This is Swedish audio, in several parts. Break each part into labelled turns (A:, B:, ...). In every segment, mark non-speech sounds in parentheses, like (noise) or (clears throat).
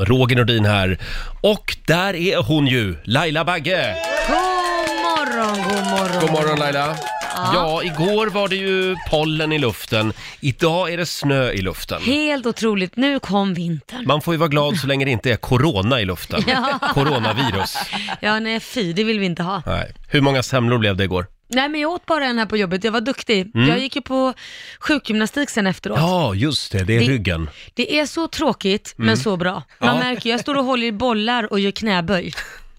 A: Roger Nordin här. Och där är hon ju, Laila Bagge!
B: God morgon, god morgon.
A: God morgon Laila!
B: Ja.
A: Ja, igår var det ju pollen i luften. Idag är det snö i luften.
B: Helt otroligt, nu kom vintern.
A: Man får ju vara glad så länge det inte är corona i luften.
B: (laughs) Ja.
A: Coronavirus.
B: Ja, nej fy, det vill vi inte ha.
A: Nej. Hur många semlor blev det igår?
B: Nej, men jag åt bara en här på jobbet, jag var duktig.
A: Mm.
B: Jag gick ju på sjukgymnastik sen efteråt.
A: Ja, just det, det är
B: Det-
A: ryggen.
B: Det är så tråkigt,
A: Mm.
B: men så bra. Man
A: Ja.
B: märker, jag står och håller i bollar och gör knäböj.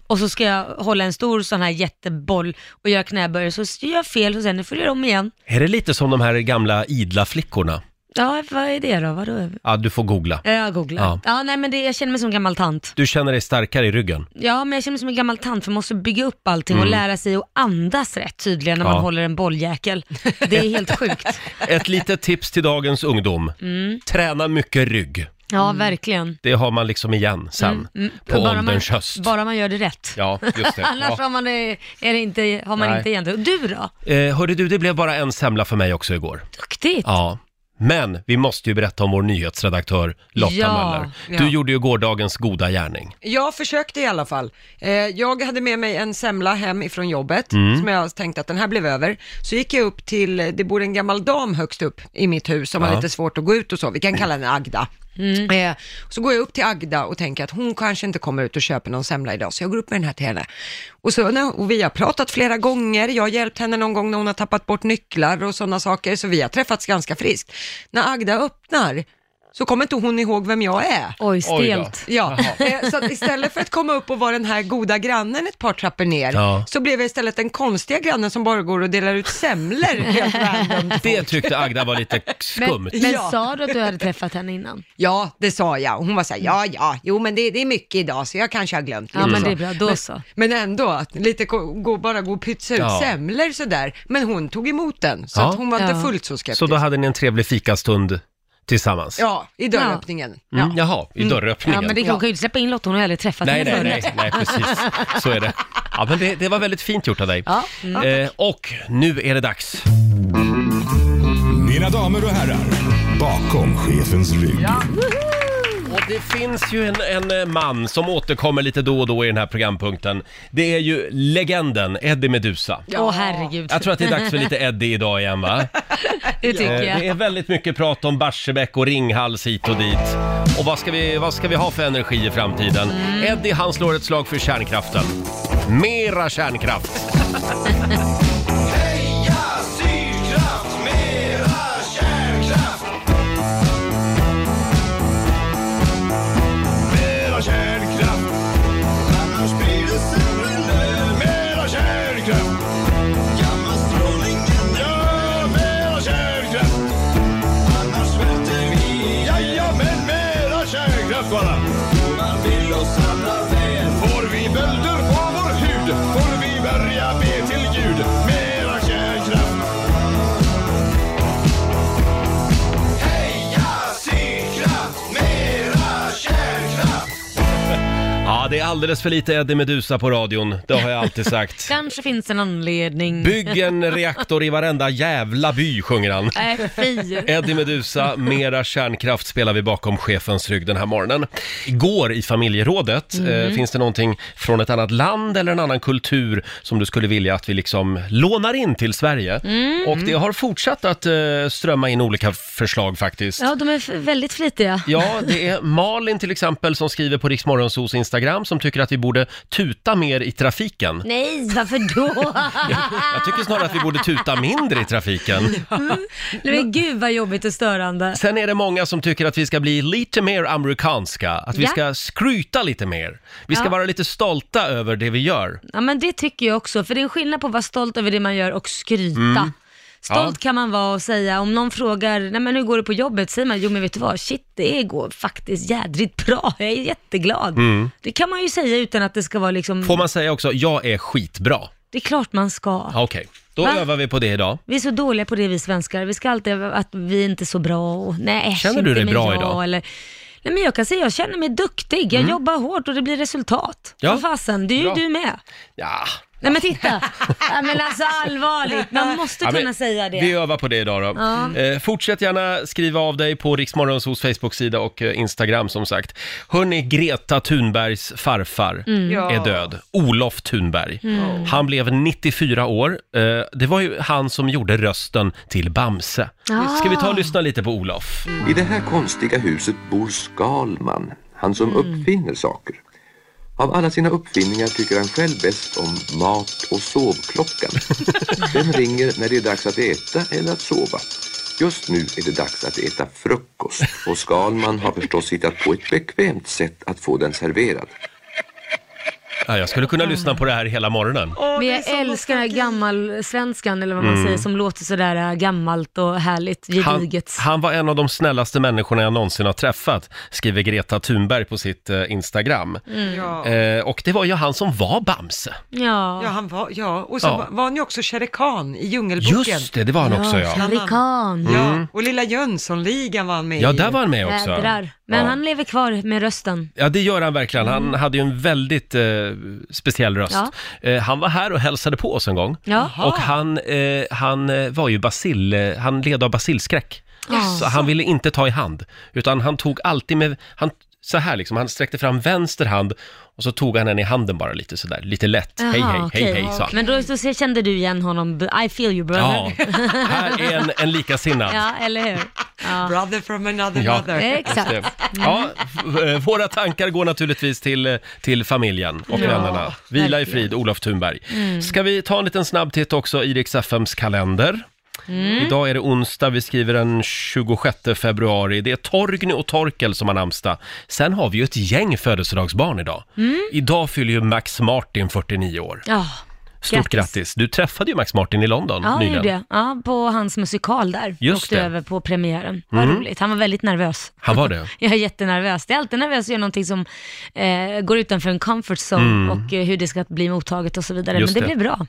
B: Och så ska jag hålla en stor sån här jätteboll och göra knäböj, så gör jag fel och sen får jag göra om igen.
A: Är det lite som de här gamla idla flickorna?
B: Ja, vad är det då? Vadå?
A: Ja, du får googla.
B: Jag googlar.
A: Ja.
B: Ja, nej men det, jag känner mig som en gammal tant.
A: Du känner dig starkare i ryggen?
B: Ja, men jag känner mig som en gammal tant för man måste bygga upp allting och
A: Mm.
B: lära sig att andas rätt tydligen när
A: Ja.
B: man håller en bolljäkel. Det är
A: (laughs)
B: helt sjukt.
A: Ett litet tips till dagens ungdom.
B: Mm.
A: Träna mycket rygg.
B: Ja, verkligen.
A: Det har man liksom igen sen.
B: Mm, mm.
A: Mm. På
B: Bara man-
A: ålderns höst.
B: Bara man gör det rätt.
A: Ja, just det.
B: (laughs) Annars
A: Ja.
B: har man, det, är det inte, har man
A: Nej.
B: inte igen det. Och Du då?
A: Eh, hörde du, det blev bara en semla för mig också igår.
B: Duktigt.
A: Ja. Men vi måste ju berätta om vår nyhetsredaktör Lotta
C: Ja,
A: Möller. Du
C: ja.
A: gjorde ju gårdagens goda gärning.
C: Jag försökte i alla fall. Eh, jag hade med mig en semla hem ifrån jobbet,
A: Mm.
C: som jag tänkte att den här blev över. Så gick jag upp till, det bor en gammal dam högst upp i mitt hus som
D: Ja.
C: har lite svårt att gå ut och så, vi kan kalla henne Agda. Eh, så går jag upp till Agda och tänker att hon kanske inte kommer ut och köper någon semla idag, så jag går upp med den här till henne. Och, så, när- och vi har pratat flera gånger, jag har hjälpt henne någon gång när hon har tappat bort nycklar och sådana saker, så vi har träffats ganska friskt. När Agda öppnar, så kommer inte hon ihåg vem jag är.
B: Oj, stelt. Oj då.
C: Ja,
B: Jaha.
C: (laughs) eh, så att istället för att komma upp och vara den här goda grannen ett par trappor ner,
A: Ja.
C: så blev jag istället den konstiga grannen som bara går och delar ut
B: (laughs)
C: semlor helt random.
A: Det tyckte Agda var lite skumt.
B: Men, men sa du att du hade träffat henne innan?
C: Ja, det sa jag. Hon var så här, ja, ja, jo, men det, det är mycket idag, så jag kanske har glömt
B: Ja,
C: lite
B: men
C: så.
B: det är bra. Då
C: men,
B: så.
C: Men ändå, att lite ko- gå, bara gå och pytsa ut
A: Ja.
C: semlor sådär. Men hon tog emot den, så
A: Ja.
C: att hon var
A: Ja.
C: inte fullt så skeptisk.
A: Så då hade ni en trevlig fikastund tillsammans?
C: Ja, i dörröppningen.
A: Mm, jaha, i
B: Ja,
A: dörröppningen.
B: men det, hon kan ju inte släppa in Lotta, hon har ju aldrig träffat
A: Nej, nej,
B: henne
A: nej, nej, precis. Så är det. Ja, men det, det var väldigt fint gjort av dig.
B: Ja. Mm.
A: Eh, och nu är det dags.
E: Mina damer och herrar, bakom chefens rygg.
A: Och det finns ju en, en eh, man som återkommer lite då och då i den här programpunkten. Det är ju legenden Eddie Meduza.
B: (laughs) Åh herregud.
A: Jag tror att det är dags för
B: (laughs)
A: lite Eddie idag igen va?
B: det tycker
A: Eh,
B: jag.
A: Det är väldigt mycket prat om Barsebäck och Ringhals hit och dit. Och vad ska vi, vad ska vi ha för energi i framtiden?
B: Mm.
A: Eddie han slår ett slag för kärnkraften. Mera kärnkraft!
F: Får vi bölder på vår hud får vi börja be till Gud. Mera kärnkraft.
A: Ja, det är alldeles för lite Eddie Meduza på radion, det har jag alltid sagt.
B: Kanske finns en anledning.
A: Bygg en reaktor i varenda jävla by, sjunger han.
B: (laughs) Nej, fy.
A: Eddie Meduza, mera kärnkraft spelar vi bakom chefens rygg den här morgonen. Igår i familjerådet,
G: Mm.
A: eh, finns det någonting från ett annat land eller en annan kultur som du skulle vilja att vi liksom lånar in till Sverige?
B: Mm.
A: Och det har fortsatt att eh, strömma in olika förslag faktiskt.
B: Ja, de är f- väldigt flitiga.
A: Ja, det är Malin till exempel som skriver på Riksmorgonsos Instagram som tycker att vi borde tuta mer i trafiken.
B: Nej,
A: (laughs)
B: varför då?
A: Jag tycker snarare att vi borde tuta mindre i trafiken.
B: Mm. Nej, men gud vad jobbigt och störande.
A: Sen är det många som tycker att vi ska bli lite mer amerikanska, att vi
B: Ja.
A: ska skryta lite mer. Vi ska
B: Ja.
A: vara lite stolta över det vi gör.
B: Ja, men det tycker jag också, för det är en skillnad på att vara stolt över det man gör och skryta.
A: Mm.
B: Stolt
A: Ja.
B: kan man vara och säga, om någon frågar, nej men hur går det på jobbet? Säger man, jo men vet du vad, shit det går faktiskt jädrigt bra, jag är jätteglad.
A: Mm.
B: Det kan man ju säga utan att det ska vara liksom,
A: Får man säga också, jag är skitbra?
B: det är klart man ska.
A: Ja, Okej, då
B: Va?
A: övar vi på det idag.
B: Vi är så dåliga på det vi svenskar, vi ska alltid att vi inte är så bra och nej,
A: Känner
B: inte
A: du dig
B: men
A: bra
B: jag,
A: idag?
B: Eller, nej men jag kan säga, jag känner mig duktig, jag
A: Mm.
B: jobbar hårt och det blir resultat.
A: Ja.
B: Ja. fasen, det är ju
A: Bra.
B: du med.
A: Ja,
B: Nej men titta! Nej, men alltså allvarligt, man måste
A: Ja, men
B: kunna säga det.
A: Vi övar på det idag då.
B: Ja.
A: Eh, fortsätt gärna skriva av dig på Riksmorgonsos Facebook-sida och eh, Instagram som sagt. Hörni, Greta Thunbergs farfar
B: Mm.
C: Ja.
A: är död. Olof Thunberg. Han blev 94 år. Eh, det var ju han som gjorde rösten till Bamse.
B: Ah.
A: Ska vi ta och lyssna lite på Olof?
D: I det här konstiga huset bor Skalman, han som uppfinner saker. Av alla sina uppfinningar tycker han själv bäst om mat och sovklockan. Den ringer när det är dags att äta eller att sova. Just nu är det dags att äta frukost och Skalman har förstås hittat på ett bekvämt sätt att få den serverad.
A: Ja, jag skulle kunna lyssna på det här hela morgonen.
B: Men jag älskar den här gammalsvenskan eller vad man säger som låter sådär äh, gammalt och härligt,
A: Mm. Han,
B: gediget.
A: han var en av de snällaste människorna jag någonsin har träffat, skriver Greta Thunberg på sitt eh, Instagram.
C: Ja.
A: Eh, och det var ju han som var Bamse.
B: Ja.
C: ja, han var, ja. Och så
A: Ja.
C: var- var han ju också Shere Khan i Djungelboken.
A: Just det, det var han också ja. Mm.
B: Amerikan.
C: Ja, och Lilla Jönssonligan var han med
A: Ja,
C: i.
A: där var han med också.
B: Vädrar. Men
A: ja.
B: han lever kvar med rösten.
A: Ja, det gör han verkligen. Han hade ju en väldigt eh, speciell röst.
B: Mm. Ja.
A: Eh, han var här och hälsade på oss en gång.
B: Ja.
A: Och han, eh, han eh, var ju basil, eh, han led av basilskräck.
B: Ja.
A: Så han ville inte ta i hand, utan han tog alltid med, han, så här liksom, han sträckte fram vänster hand och så tog han den i handen bara lite sådär, lite lätt. hej, hej,
B: Jaha, okej.
A: hej, hej, sa han.
B: Men då, då kände du igen honom, b- I feel you brother.
A: Ja, här
B: (laughs)
A: är en, en likasinnad.
B: Ja, eller hur? Ja.
C: Brother from another
A: Ja.
C: mother.
B: Exakt.
A: Det- Ja, v- eh, våra tankar går naturligtvis till, eh, till familjen och
B: Ja,
A: vännerna. Vila i
B: verkligen. Mm.
A: frid, Olof Thunberg. Ska vi ta en liten snabb titt också i Rix FMs kalender?
B: Mm.
A: Idag är det onsdag, vi skriver den 26 februari. Det är Torgny och Torkel som har namnsdag. Sen har vi ju ett gäng födelsedagsbarn idag. Idag fyller ju Max Martin 49 år.
B: Mm. Ja,
A: Stort grattis! Du träffade ju Max Martin i London
B: Ja, jag
A: nyligen.
B: gjorde jag. Ja, på hans musikal där.
A: Just
B: Åkte
A: det. Mm.
B: över på premiären. Vad roligt. Han var väldigt nervös.
A: Han var det?
B: Jag är jättenervös. Det är alltid nervös att göra någonting som eh, går utanför en comfort zone och eh, hur det ska bli mottaget och så vidare.
A: Mm. Just
B: Men
A: det.
B: det, blir bra.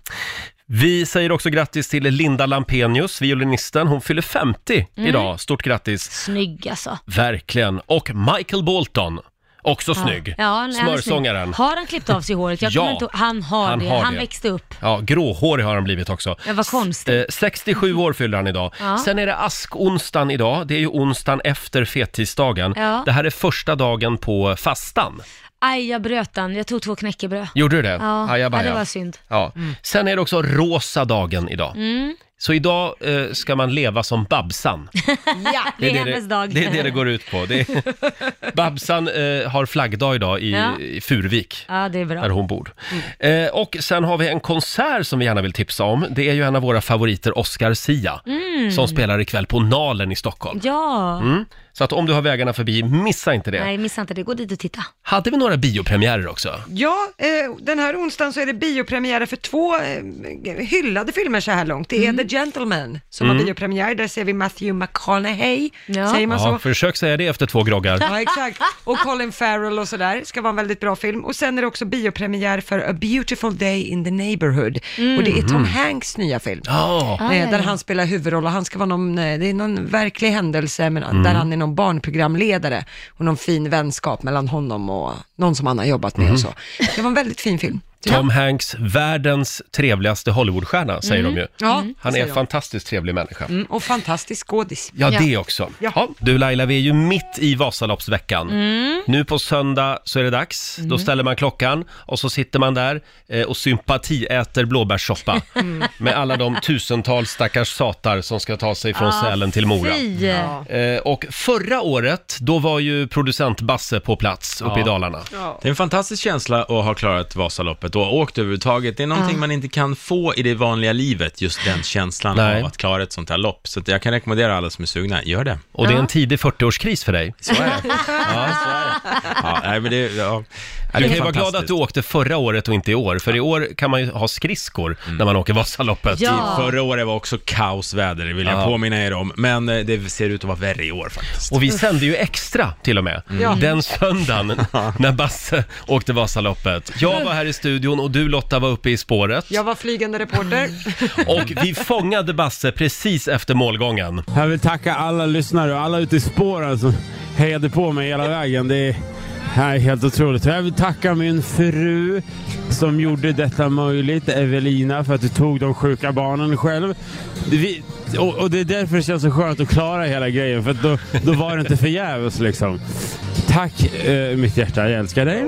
A: Vi säger också grattis till Linda Lampenius, violinisten. Hon fyller 50
B: Mm.
A: idag. Stort grattis!
B: Snygg alltså.
A: Verkligen. Och Michael Bolton, också snygg.
B: Ja, han är
A: Smörsångaren.
B: snygg. Har han klippt av sig håret? Jag
A: Ja,
B: kommer inte ihåg. Han har
A: han
B: det.
A: har
B: han
A: det.
B: växte upp.
A: Ja, gråhårig har han blivit också.
B: Men vad konstigt.
A: Eh, 67 år fyller han idag.
B: Ja.
A: Sen är det askonsdagen idag. Det är ju onsdagen efter fettisdagen.
B: Ja.
A: Det här är första dagen på fastan.
B: Aj, jag bröt den. Jag tog två knäckebröd.
A: Gjorde du det?
B: Ja,
A: Ajabaja.
B: ja, det var synd. Mm.
A: Ja. Sen är det också rosa dagen idag. Så idag eh, ska man leva som Babsan.
C: Ja.
B: Det är,
A: det,
B: hennes dag.
A: Det är det det går ut på. Det är,
B: (laughs)
A: Babsan eh, har flaggdag idag i,
B: Ja.
A: i Furvik.
B: Ja, det är bra. Mm.
A: Där hon bor. Eh, och sen har vi en konsert som vi gärna vill tipsa om. Det är ju en av våra favoriter, Oscar Sia, som spelar ikväll på Nalen i Stockholm.
B: Mm. Ja,
A: Mm. Så att om du har vägarna förbi, missa inte det.
B: nej missa inte det. Gå dit och titta.
A: Hade vi några biopremiärer också?
C: Ja, eh, den här onsdagen så är det biopremiärer för två eh, hyllade filmer så här långt. Det är
B: Mm.
C: The Gentleman som
A: Mm.
C: har biopremiär, där ser vi Matthew McConaughey,
B: Ja.
C: säger man
A: Ja,
C: så?
A: försök säga det efter två groggar. (laughs)
C: Ja, exakt. Och Colin Farrell och sådär, ska vara en väldigt bra film. Och sen är det också biopremiär för A Beautiful Day in the Neighborhood, och det är Tom Hanks nya film.
A: Mm. Mhm. Ja,
B: Aj,
C: Eh,
B: aj,
C: där
B: aj.
C: han spelar huvudroll och han ska vara någon, eh, det är någon verklig händelse, men
A: Mm.
C: där han är någon barnprogramledare och någon fin vänskap mellan honom och någon som han har jobbat med
A: Mm.
C: och så. Det var en väldigt
A: (laughs)
C: fin film.
A: Tom Hanks, världens trevligaste Hollywoodstjärna, säger
B: Mm.
A: de ju.
C: Ja,
A: Han är
C: säger
A: en
C: de.
A: fantastiskt trevlig människa.
C: Mm, och fantastisk skådis.
A: Ja,
B: Ja.
A: det också.
C: Ja.
A: Ja. Du Laila, vi är ju mitt i Vasaloppsveckan. Nu på söndag så är det dags. Då ställer man klockan och så sitter man där eh, och sympatiäter blåbärssoppa
B: Mm.
A: med alla de tusentals stackars satar som ska ta sig från Sälen till Mora.
B: Ah, Fy. Ja.
A: Eh, Och förra året, då var ju producent Basse på plats uppe i
G: Ja.
A: Dalarna.
G: Det är en fantastisk känsla att ha klarat Vasaloppet och ha åkt överhuvudtaget. Det är någonting man inte kan få i det vanliga livet, just den känslan
A: Nej.
G: av att klara ett sånt här lopp. Så att jag kan rekommendera alla som är sugna, gör det.
A: Och det är en tidig 40-årskris för dig.
G: Så är
B: (laughs)
G: det. Ja, så är det. Ja, nej, men det, ja. Ja,
A: Du
G: det är
A: kan ju vara glad
G: fantastiskt.
A: att du åkte förra året och inte i år, för i år kan man ju ha skridskor när man åker Vasaloppet.
B: Ja.
G: Mm. Förra året var också kaosväder, det vill jag
A: Ja.
G: påminna er om. Men eh, det ser ut att vara värre i år faktiskt.
A: Och vi sände ju extra till och med,
G: (laughs)
A: den söndagen när Basse åkte Vasaloppet. Jag var här i studion och du Lotta var uppe i spåret.
C: Jag var
A: (laughs)
C: flygande reporter.
A: Och vi fångade Basse precis efter målgången.
H: Jag vill tacka alla lyssnare och alla ute i spåren
G: alltså,
H: som hejade på mig hela vägen. Det är, det är helt otroligt. Och Jag vill tacka min fru
G: som gjorde detta möjligt, Evelina, för att du tog de sjuka barnen själv. Vi, och, och det är därför det känns så skönt att klara hela grejen, för att då, då var det inte förgäves liksom. Tack eh, mitt hjärta, jag älskar dig.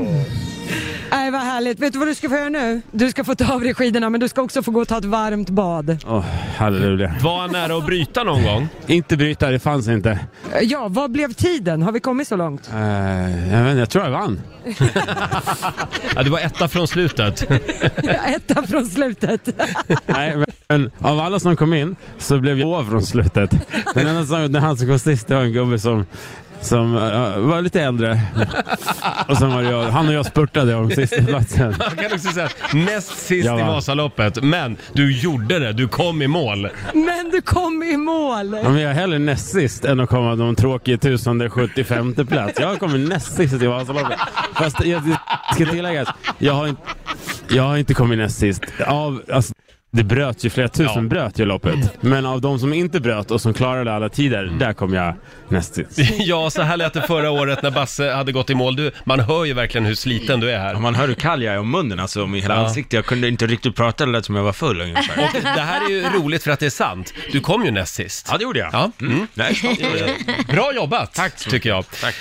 C: Nej vad härligt, vet du vad du ska få göra nu? Du ska få ta av dig skidorna men du ska också få gå och ta ett varmt bad.
G: Åh, halleluja.
A: Var han nära att bryta någon gång?
G: Inte bryta, det fanns inte.
C: Eh, Ja, vad blev tiden? Har vi kommit så långt? (laughs)
G: Eh, jag, vet, inte, jag tror jag vann.
A: (laughs) Ja, det var etta från slutet.
C: Etta från slutet.
G: (laughs) Nej, men av alla som kom in så blev jag från slutet. Den enda som, den han som kom sist det var en gubbe som, som eh, var lite äldre. Och sen var det jag, han och jag spurtade om sista platsen.
A: (laughs) Man kan också säga att näst sist
G: Jag
A: i
G: vann.
A: Vasaloppet, men du gjorde det, du kom i mål.
C: Men du kom i mål!
G: Ja, men jag är hellre näst sist än att komma någon tråkig 1075 plats. Jag kommer näst sist i Vasaloppet. Fast jag det ska tilläggas, jag har inte, jag har inte kommit näst sist. Av, alltså, det bröt ju, flera tusen
A: Ja.
G: bröt ju loppet. Men av de som inte bröt och som klarade alla tider, där kom jag näst sist.
A: Mm. (laughs) Ja, så här lät det förra året när Basse hade gått i mål. Du, man hör ju verkligen hur sliten du är här.
F: Ja, man hör hur kall jag är om munnen, alltså om hela
A: Ja.
F: ansiktet. Jag kunde inte riktigt prata, det lät som jag var full ungefär.
A: Och det här är ju roligt för att det är sant. Du kom ju näst sist.
F: Ja, det gjorde jag.
A: Ja.
F: Mm. Nej, ja, det gjorde jag.
A: Bra jobbat,
F: Tack så mycket.
A: tycker jag.
F: Tack.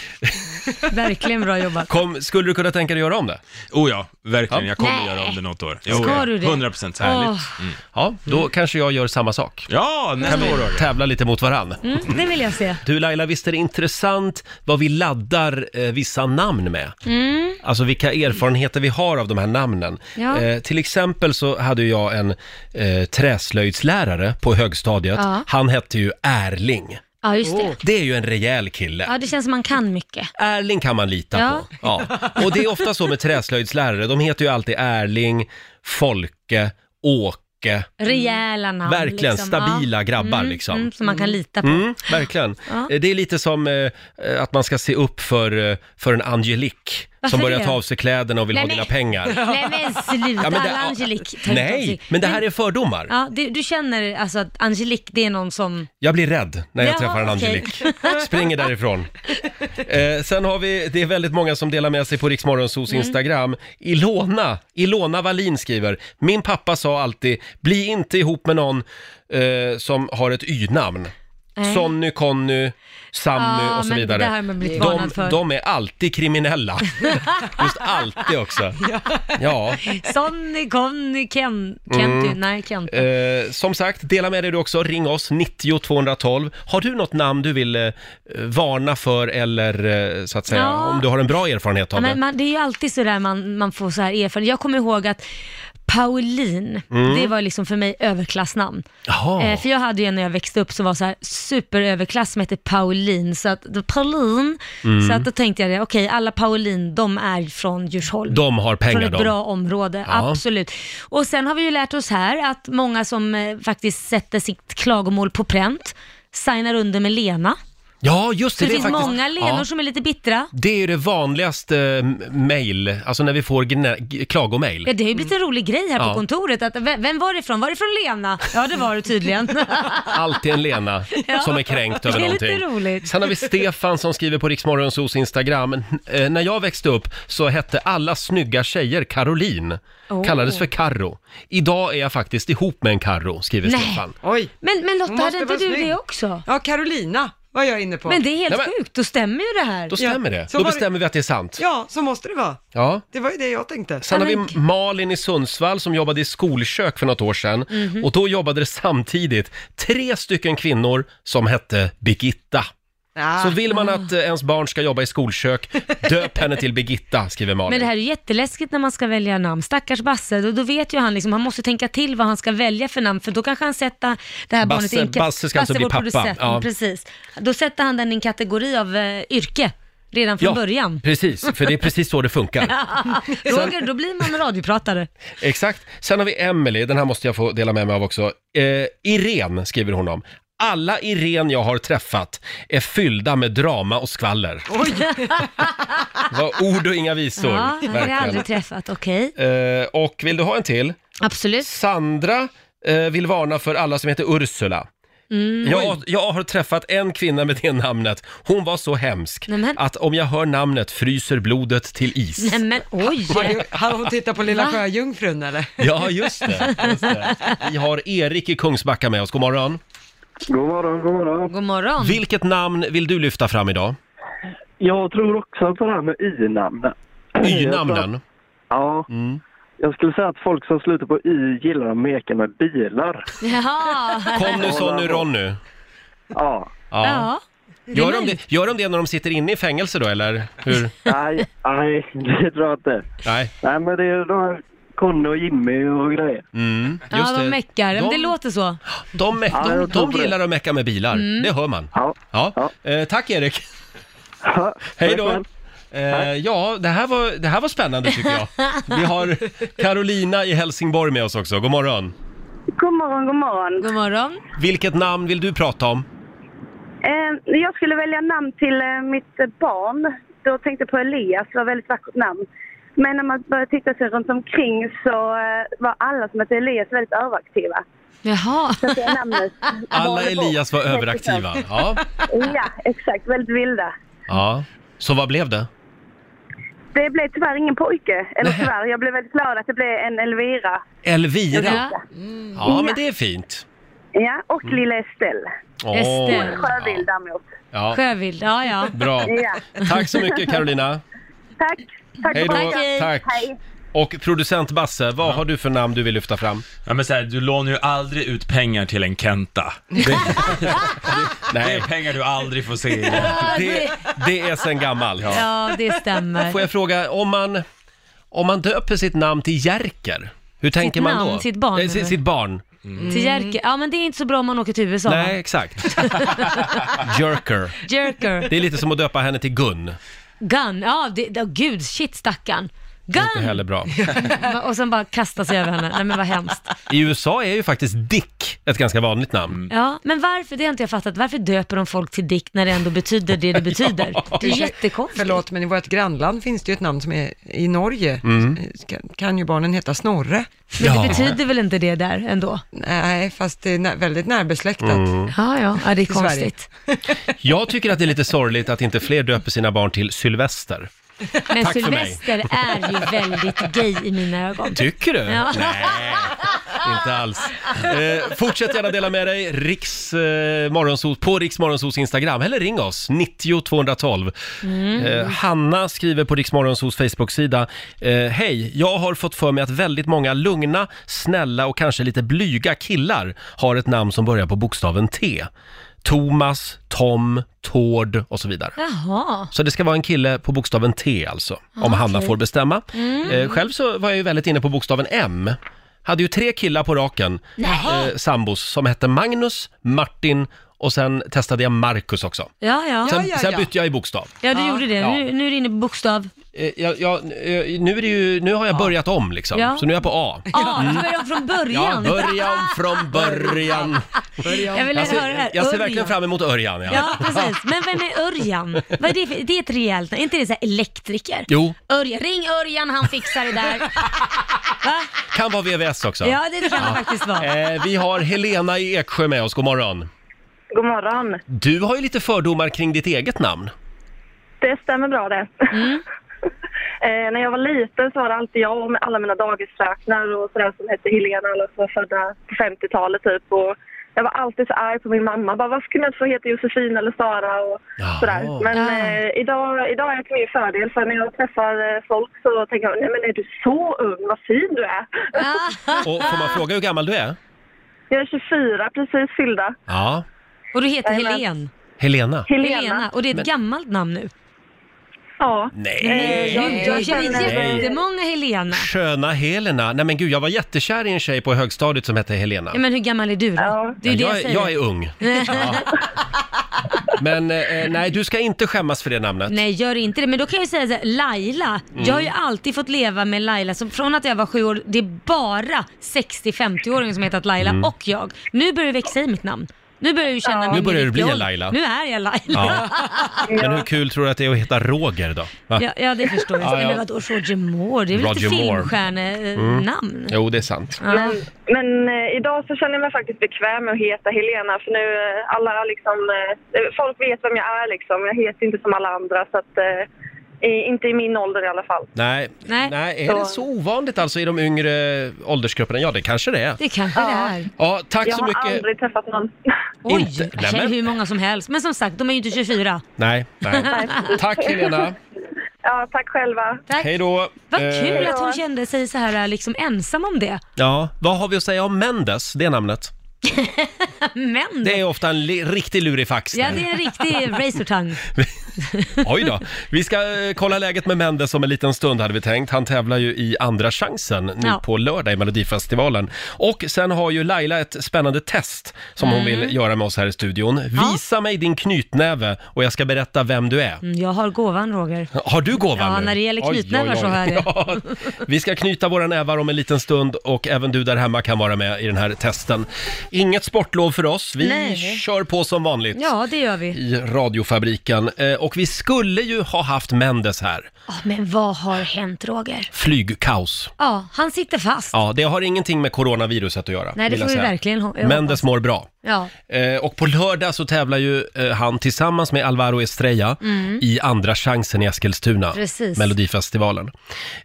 B: Verkligen bra jobbat.
A: Kom, skulle du kunna tänka dig att göra om det?
F: Oh ja, verkligen.
A: Ja.
F: Jag kommer
B: Nej.
F: göra om det något år.
B: Ska
F: ja.
B: du det?
F: 100 procent härligt.
B: Åh.
F: Mm.
A: Ja, då kanske jag gör samma sak.
F: Ja, nästa år Roger.
A: Tävla lite mot varann.
B: Mm, det vill jag se.
A: Du Laila, visst är det intressant vad vi laddar eh, vissa namn med?
B: Mm.
A: Alltså vilka erfarenheter vi har av de här namnen.
B: Ja.
A: Eh, till exempel så hade ju jag en eh, träslöjdslärare på högstadiet.
B: Ja.
A: Han hette ju Erling.
B: Ja, just det.
A: Det är ju en rejäl kille.
B: Ja, det känns som man kan mycket.
A: Erling kan man lita
B: Ja.
A: på. Ja. Och det är ofta så med träslöjdslärare, de heter ju alltid Erling, Folke, Åke.
B: Rejäla namn.
A: Verkligen
B: liksom.
A: stabila
B: Ja.
A: grabbar
B: Mm,
A: liksom.
B: Mm, som man kan lita på.
A: Mm, verkligen.
B: Ja.
A: Eh, Det är lite som eh, eh, att man ska se upp för, eh, för en Angelique som
B: Varför
A: börjar
B: det?
A: ta av sig kläderna och vill
B: Nej,
A: ha
B: men-
A: dina pengar.
B: (laughs) Nej men sluta,
A: Ja, men det-
B: alla Angelique tar inte av
A: Nej,
B: sig.
A: men det här är fördomar.
B: Ja, du, du känner alltså att Angelique, det är någon som...
A: Jag blir rädd när jag
B: Jaha,
A: träffar en
B: okej.
A: Angelique. Springer därifrån. Eh, sen har vi, det är väldigt många som delar med sig på Riksmorgonsos
B: Mm.
A: Instagram. Ilona, Ilona Wallin skriver, min pappa sa alltid, bli inte ihop med någon eh, som har ett y-namn.
B: Nej.
A: Sonny, Conny, Sammy
B: Ja,
A: och så
B: men
A: vidare.
B: det där har man blivit
A: de,
B: varnad för.
A: de är alltid kriminella. Just alltid också. Ja.
B: (laughs) Sonny, Conny, Ken, Kenty, nej Kent.
A: Mm. Eh, som sagt, dela med dig du också. Ring oss, 90 212. Har du något namn du vill eh, varna för eller eh, så att säga,
B: Ja.
A: om du har en bra erfarenhet
B: Ja,
A: av
B: men
A: det?
B: man, det är ju alltid sådär man, man får så här erfarenhet. Jag kommer ihåg att Pauline, det var liksom för mig överklassnamn.
A: Mm. Jaha.
B: Eh, för jag hade ju en när jag växte upp som var så här superöverklass som hette Pauline. Så att, då- Pauline,
A: Mm.
B: så att då tänkte jag det, okej alla Pauline, de är från Djursholm.
A: De har
B: från
A: pengar
B: ett
A: de.
B: bra område,
A: Ja.
B: absolut. Och sen har vi ju lärt oss här att många som eh, faktiskt sätter sitt klagomål på pränt, signar under med Lena.
A: Ja, just
B: Så
A: det.
B: det,
A: är
B: finns
A: faktiskt-
B: många Lenor
A: Ja.
B: som är lite bittra.
A: Det är ju det vanligaste eh, mail, alltså när vi får gnä- g- klagomail.
B: Ja, det har ju blivit en rolig grej här
A: Mm. Ja.
B: på kontoret. Att, vem, vem var det ifrån? Var det från Lena? Ja, det var
A: (laughs)
B: det tydligen.
A: Alltid en Lena
B: Ja.
A: som är kränkt över
B: Det är lite
A: någonting.
B: roligt.
A: Sen har vi Stefan som skriver på Riksmorgonsos Instagram. N- eh, När jag växte upp så hette alla snygga tjejer Caroline.
B: Oh.
A: Kallades för Karro. Idag är jag faktiskt ihop med en Karro, skriver
B: Nej.
A: Stefan.
I: Oj.
B: Men, men
I: Hon
B: Lotta,
I: måste
B: hade inte
I: vara
B: du
I: snygg.
B: det också?
I: Ja, Carolina var jag inne på.
B: Men det är helt
A: Nej, men-
B: sjukt, då stämmer ju det här.
A: Då stämmer
I: Ja,
A: det.
I: så
A: Då
I: var det-
A: bestämmer vi att det är sant.
I: Ja, så måste det vara.
A: Ja.
I: Det var ju det jag tänkte.
A: Sen har vi
B: Ja, men-
A: Malin i Sundsvall som jobbade i skolkök för något år sedan.
B: Mhm.
A: Och då jobbade det samtidigt tre stycken kvinnor som hette Birgitta.
I: Ja.
B: Ah.
A: Så vill man att eh, ens barn ska jobba i
B: (laughs)
A: skolkök, döp henne till Birgitta, skriver Malin.
B: Men det här är ju jätteläskigt när man ska välja namn. Stackars Basse, då, då vet ju han liksom, han måste tänka till vad han ska välja för namn, för då kanske han sätter det här
A: Basse-
B: barnet i en ka-
A: Basse ska alltså bli
B: vår
A: pappa.
B: producent, Mm,
A: Ja.
B: Precis. Då sätter han den i en kategori av eh, yrke, redan från början.
A: precis. För det är precis så det
B: (laughs)
A: funkar.
B: Roger, då blir man radiopratare.
A: Exakt. Sen har vi Emily, den här måste jag få dela med mig av också. Eh, Irene skriver hon om. Alla Irene jag har träffat är fyllda med drama och skvaller. Oj! (laughs) var ord och inga visor.
B: Ja, han har jag aldrig träffat, okej.
A: Eh, och vill du ha en till?
B: Absolut.
A: Sandra eh, vill varna för alla som heter Ursula.
B: Mm.
A: Jag, jag har träffat en kvinna med det namnet. Hon var så hemsk
B: Nämen.
A: att om jag hör namnet fryser blodet till is.
B: Nej men oj!
C: Har, du, har hon tittat på Lilla
B: Va?
C: Sjöjungfrun eller?
A: Ja, just
C: (laughs)
A: det. Just det. Vi har Erik i Kungsbacka med oss. God morgon.
J: God morgon, god morgon.
B: God morgon.
A: Vilket namn vill du lyfta fram idag?
J: Jag tror också på det här med y-namnen.
A: Y-namnen.
J: Ja. Jag skulle säga att folk som slutar på y gillar att meka med bilar.
B: Jaha.
A: Kom nu Sonny Ronny.
J: Ja.
A: Ja.
B: Ja.
A: Gör, de det, gör de det när de sitter inne i fängelse då, eller? Hur?
J: Nej, nej, det tror jag inte.
A: Nej.
J: Nej, men det är de här Conny och Jimmy och grejer.
A: Mm,
B: Ja, de meckar. Men
A: De-
B: det låter så.
A: De, meck-
J: Ja,
A: de,
J: jag tror
A: de
J: på det.
A: gillar att mecka med bilar, det hör man.
J: Ja.
A: Ja.
J: Ja.
A: Eh, tack Erik.
J: Ja,
A: (laughs) Hej
J: tack
A: då.
J: själv.
A: Eh, ja, det här, var, det här var spännande tycker jag. Vi har Carolina i Helsingborg med oss också. God morgon.
K: God morgon, god morgon.
B: God morgon.
A: Vilket namn vill du prata om?
K: Eh, jag skulle välja namn till eh, mitt eh, barn. Då tänkte jag på Elias, det var ett väldigt vackert namn. Men när man började titta sig runt omkring så eh, var alla som hette Elias väldigt överaktiva.
B: Jaha.
K: Så det
B: (laughs)
K: namnet
A: Alla
K: valde bort.
A: Elias var överaktiva. Ja.
K: Ja, exakt. Väldigt vilda.
A: ja. Så vad blev det?
K: Det blev tyvärr ingen pojke. Eller tyvärr, jag blev väldigt glad att det blev en Elvira.
A: Elvira.
B: Ja.
A: Mm. Ja, men det är fint.
K: Ja, och lilla Estelle.
A: Åh.
B: Estelle.
K: Sjövild däremot.
A: Ja.
B: Sjövild. Ja, ja.
A: Bra.
K: Ja.
A: Tack så mycket
J: (laughs)
A: Carolina.
K: Tack. Tack
A: Hej
K: för
A: då.
K: frågan.
A: Tack.
K: Hej.
A: Och producent Basse, vad har du för namn du vill lyfta fram?
G: Ja, men så här, du lånar ju aldrig ut pengar till en Kenta.
A: (laughs)
G: (laughs) Det
A: Nej,
G: är pengar du aldrig får se igen.
B: Ja,
A: (laughs) det,
B: det,
A: det är sen gammalt.
B: ja, det stämmer.
A: Får jag fråga, om man, om man döper sitt namn till Jerker, hur tänker man
B: namn,
A: då?
B: sitt barn,
A: Eh, sitt,
B: eller?
A: sitt barn.
B: Mm. Till Jerker. Ja, men det är inte så bra om man åker till USA.
A: Nej, exakt. Jerker.
B: Jerker.
A: Det är lite som att döpa henne till Gun.
B: Gun. Ja, det, oh, gud,
A: (laughs)
B: shit stackarn.
A: Inte
B: Gun!
A: heller bra.
B: Och sen bara kasta sig över henne. Nej men vad hemskt.
A: I USA är ju faktiskt Dick ett ganska vanligt namn.
B: Ja, men varför, det har inte jag fattat, varför döper de folk till Dick när det ändå betyder det det betyder? Det är jättekonstigt.
C: Förlåt, men i vårt grannland finns det ju ett namn som är i Norge, ska, kan ju barnen heta Snorre.
B: Men
A: Mm. Ja.
B: det betyder väl inte det där ändå?
C: Nej, fast det är nä- väldigt närbesläktat.
A: Mm.
B: Ja, ja, ja det är
C: Sverige.
B: konstigt.
A: Jag tycker att det är lite sorgligt att inte fler döper sina barn till Sylvester.
B: Men
A: Tack för
B: Sylvester är ju väldigt gay i mina ögon.
A: Tycker du?
B: Ja.
A: Nej, inte alls. Eh, fortsätt gärna dela med dig Riks, eh, morgonsos, på Riks Morgonsos Instagram, eller ring oss, 90 212.
B: Mm.
F: Mm.
A: Eh, Hanna skriver på Riks Morgonsos Facebook-sida, eh, Hej, jag har fått för mig att väldigt många lugna, snälla och kanske lite blyga killar har ett namn som börjar på bokstaven T. Thomas, Tom, Tord och så vidare.
B: Jaha.
A: Så det ska vara en kille på bokstaven T alltså,
B: Ah,
A: om Hanna får bestämma.
B: Mm.
A: Eh, själv så var jag ju väldigt inne på bokstaven M. Hade ju tre killar på raken, eh, sambos, som hette Magnus, Martin och sen testade jag Marcus också.
B: Ja, ja.
A: Sen,
C: ja,
A: sen
C: ja.
A: bytte jag i bokstav.
B: Ja, du gjorde det.
A: Ja.
B: Nu, nu är du inne på bokstav.
A: Eh, jag, jag, eh, nu, är det ju, nu har jag börjat om liksom,
B: Ja.
A: så nu är jag på A. Mm.
B: Ja, du började om från
A: Ja,
B: början.
A: börja om från
B: (laughs)
A: början.
B: Jag vill
A: Jag
B: höra det här.
A: ser, jag ser
B: Örjan.
A: verkligen fram emot Örjan. Ja.
B: (laughs) Ja, precis. Men vem är Örjan? Vad är det, för, det är ett rejält Är inte det så här elektriker?
A: (laughs) Jo,
B: Örjan, ring Örjan, han fixar det där. Va?
A: kan vara VVS också.
B: Ja, det kan det faktiskt vara.
A: Eh, vi har Helena i Eksjö med oss, god morgon.
K: God morgon.
A: Du har ju lite fördomar kring ditt eget namn.
K: Det stämmer bra det.
B: Mm.
K: (laughs) eh, när jag var liten så var det alltid jag och alla mina dagisfröknar och sådär som hette Helena, alla som var födda på 50-talet typ. Och jag var alltid så arg på min mamma. Bara, varför kunde jag inte få heta Josefina eller Sara och
A: Jaha.
K: sådär. Men
B: Ah.
K: eh, idag, idag är jag till min fördel för när jag träffar eh, folk så tänker jag, nej men är du så ung, vad fin du är.
B: Ah,
A: Och får man fråga hur gammal du är?
K: (laughs) jag är 24, precis fyllda.
A: Ja.
B: och du heter
K: Jajamän.
B: Helen.
A: Helena?
K: Helena.
B: Helena. Och det är ett gammalt namn nu.
K: Ja.
A: Nej.
K: Eh, jag-
B: Gud, jag
K: jag
B: känner
K: känner-
B: jättemånga Helena.
A: Sköna Helena. Nej men gud, jag var jättekär i en tjej på högstadiet som hette Helena.
B: Ja, men hur gammal är du då?
K: Ja.
B: Det är ju det
A: jag,
B: jag
A: är-
B: säger.
A: jag är
B: (laughs)
A: ung. Ja. Men eh, nej, du ska inte skämmas för det namnet.
B: Nej, gör inte det. Men då kan jag ju säga så här, Laila. Jag har ju
A: Mm.
B: alltid fått leva med Laila. Så från att jag var sju
A: Mm.
B: år, det är bara 60-50-åringar som hetat Laila och jag. Nu börjar det växa i mitt namn. Nu börjar du känna
A: Ja.
B: mig
A: Nu börjar du bli
B: riktiga
A: en Laila.
B: ålder. Nu är jag Laila. (laughs)
A: Ja. Men hur kul tror du att det är att heta Roger då? Va?
B: Ja, ja, det förstår jag.
A: Ja, ja.
B: Men vadå Roger Moore? Det är väl
A: Roger
B: lite
A: Moore.
B: eh,
A: Mm.
B: filmstjärnenamn?
A: Jo, det är sant.
K: Men, men eh, idag så känner jag mig faktiskt bekväm med att heta Helena för nu eh, alla liksom, eh, folk vet vem jag är liksom. Jag heter inte som alla andra så att, eh, i, inte i min ålder i alla fall.
A: Nej. Nej. är det så ovanligt alltså i de yngre åldersgrupperna? Ja, det kanske det är.
B: Det kanske det är.
A: Ja, tack
B: Jag
A: så
B: har
A: mycket.
B: aldrig träffat någon. Oj,
A: Inte-
B: inte,
A: Nej, men-
B: hur många som helst. Men som sagt, de är ju inte 24.
A: Nej,
B: (laughs)
A: nej. Tack Helena.
K: Ja, tack själva.
B: Tack.
A: Hej då.
B: Vad
A: Eh,
B: kul att hon kände sig så här liksom ensam om det.
A: Ja, vad har vi att säga om Mendes, det
B: (laughs)
A: namnet?
B: Men
A: Det är ofta en li- riktig lurifax.
B: Ja,
A: där.
B: det är en riktig racertang.
A: (laughs) Oj då. Vi ska eh, kolla läget med Mendes om en liten stund hade vi tänkt. Han tävlar ju i Andra chansen nu
B: Ja.
A: på lördag i Melodifestivalen. Och sen har ju Laila ett spännande test som hon
B: Mm.
A: vill göra med oss här i studion. Visa mig din knytnäve och jag ska berätta vem du är.
B: Mm, Jag har gåvan Roger.
A: Har du gåvan
B: Ja,
A: nu?
B: när det gäller
A: Oj, oj,
B: knytnävar så
A: oj.
B: har jag det.
A: Ja. Vi ska knyta våra nävar om en liten stund och även du där hemma kan vara med i den här testen. Inget sportlov för oss. Vi
B: Nej.
A: kör på som vanligt
B: Ja, det gör vi.
A: i radiofabriken. Eh, Och vi skulle ju ha haft Mendes här.
B: Ja, men vad har hänt Roger?
A: Flygkaos.
B: Ja, han sitter fast.
A: Ja, det har ingenting med coronaviruset att göra.
B: Nej, det
A: vill jag
B: får vi
A: säga.
B: verkligen ho- jag
A: Mendes
B: hoppas.
A: mår bra.
B: Ja.
A: Eh, Och på lördag så tävlar ju eh, han tillsammans med Alvaro Estrella
B: Mm.
A: i Andra chansen i Eskilstuna,
B: Precis.
A: Melodifestivalen.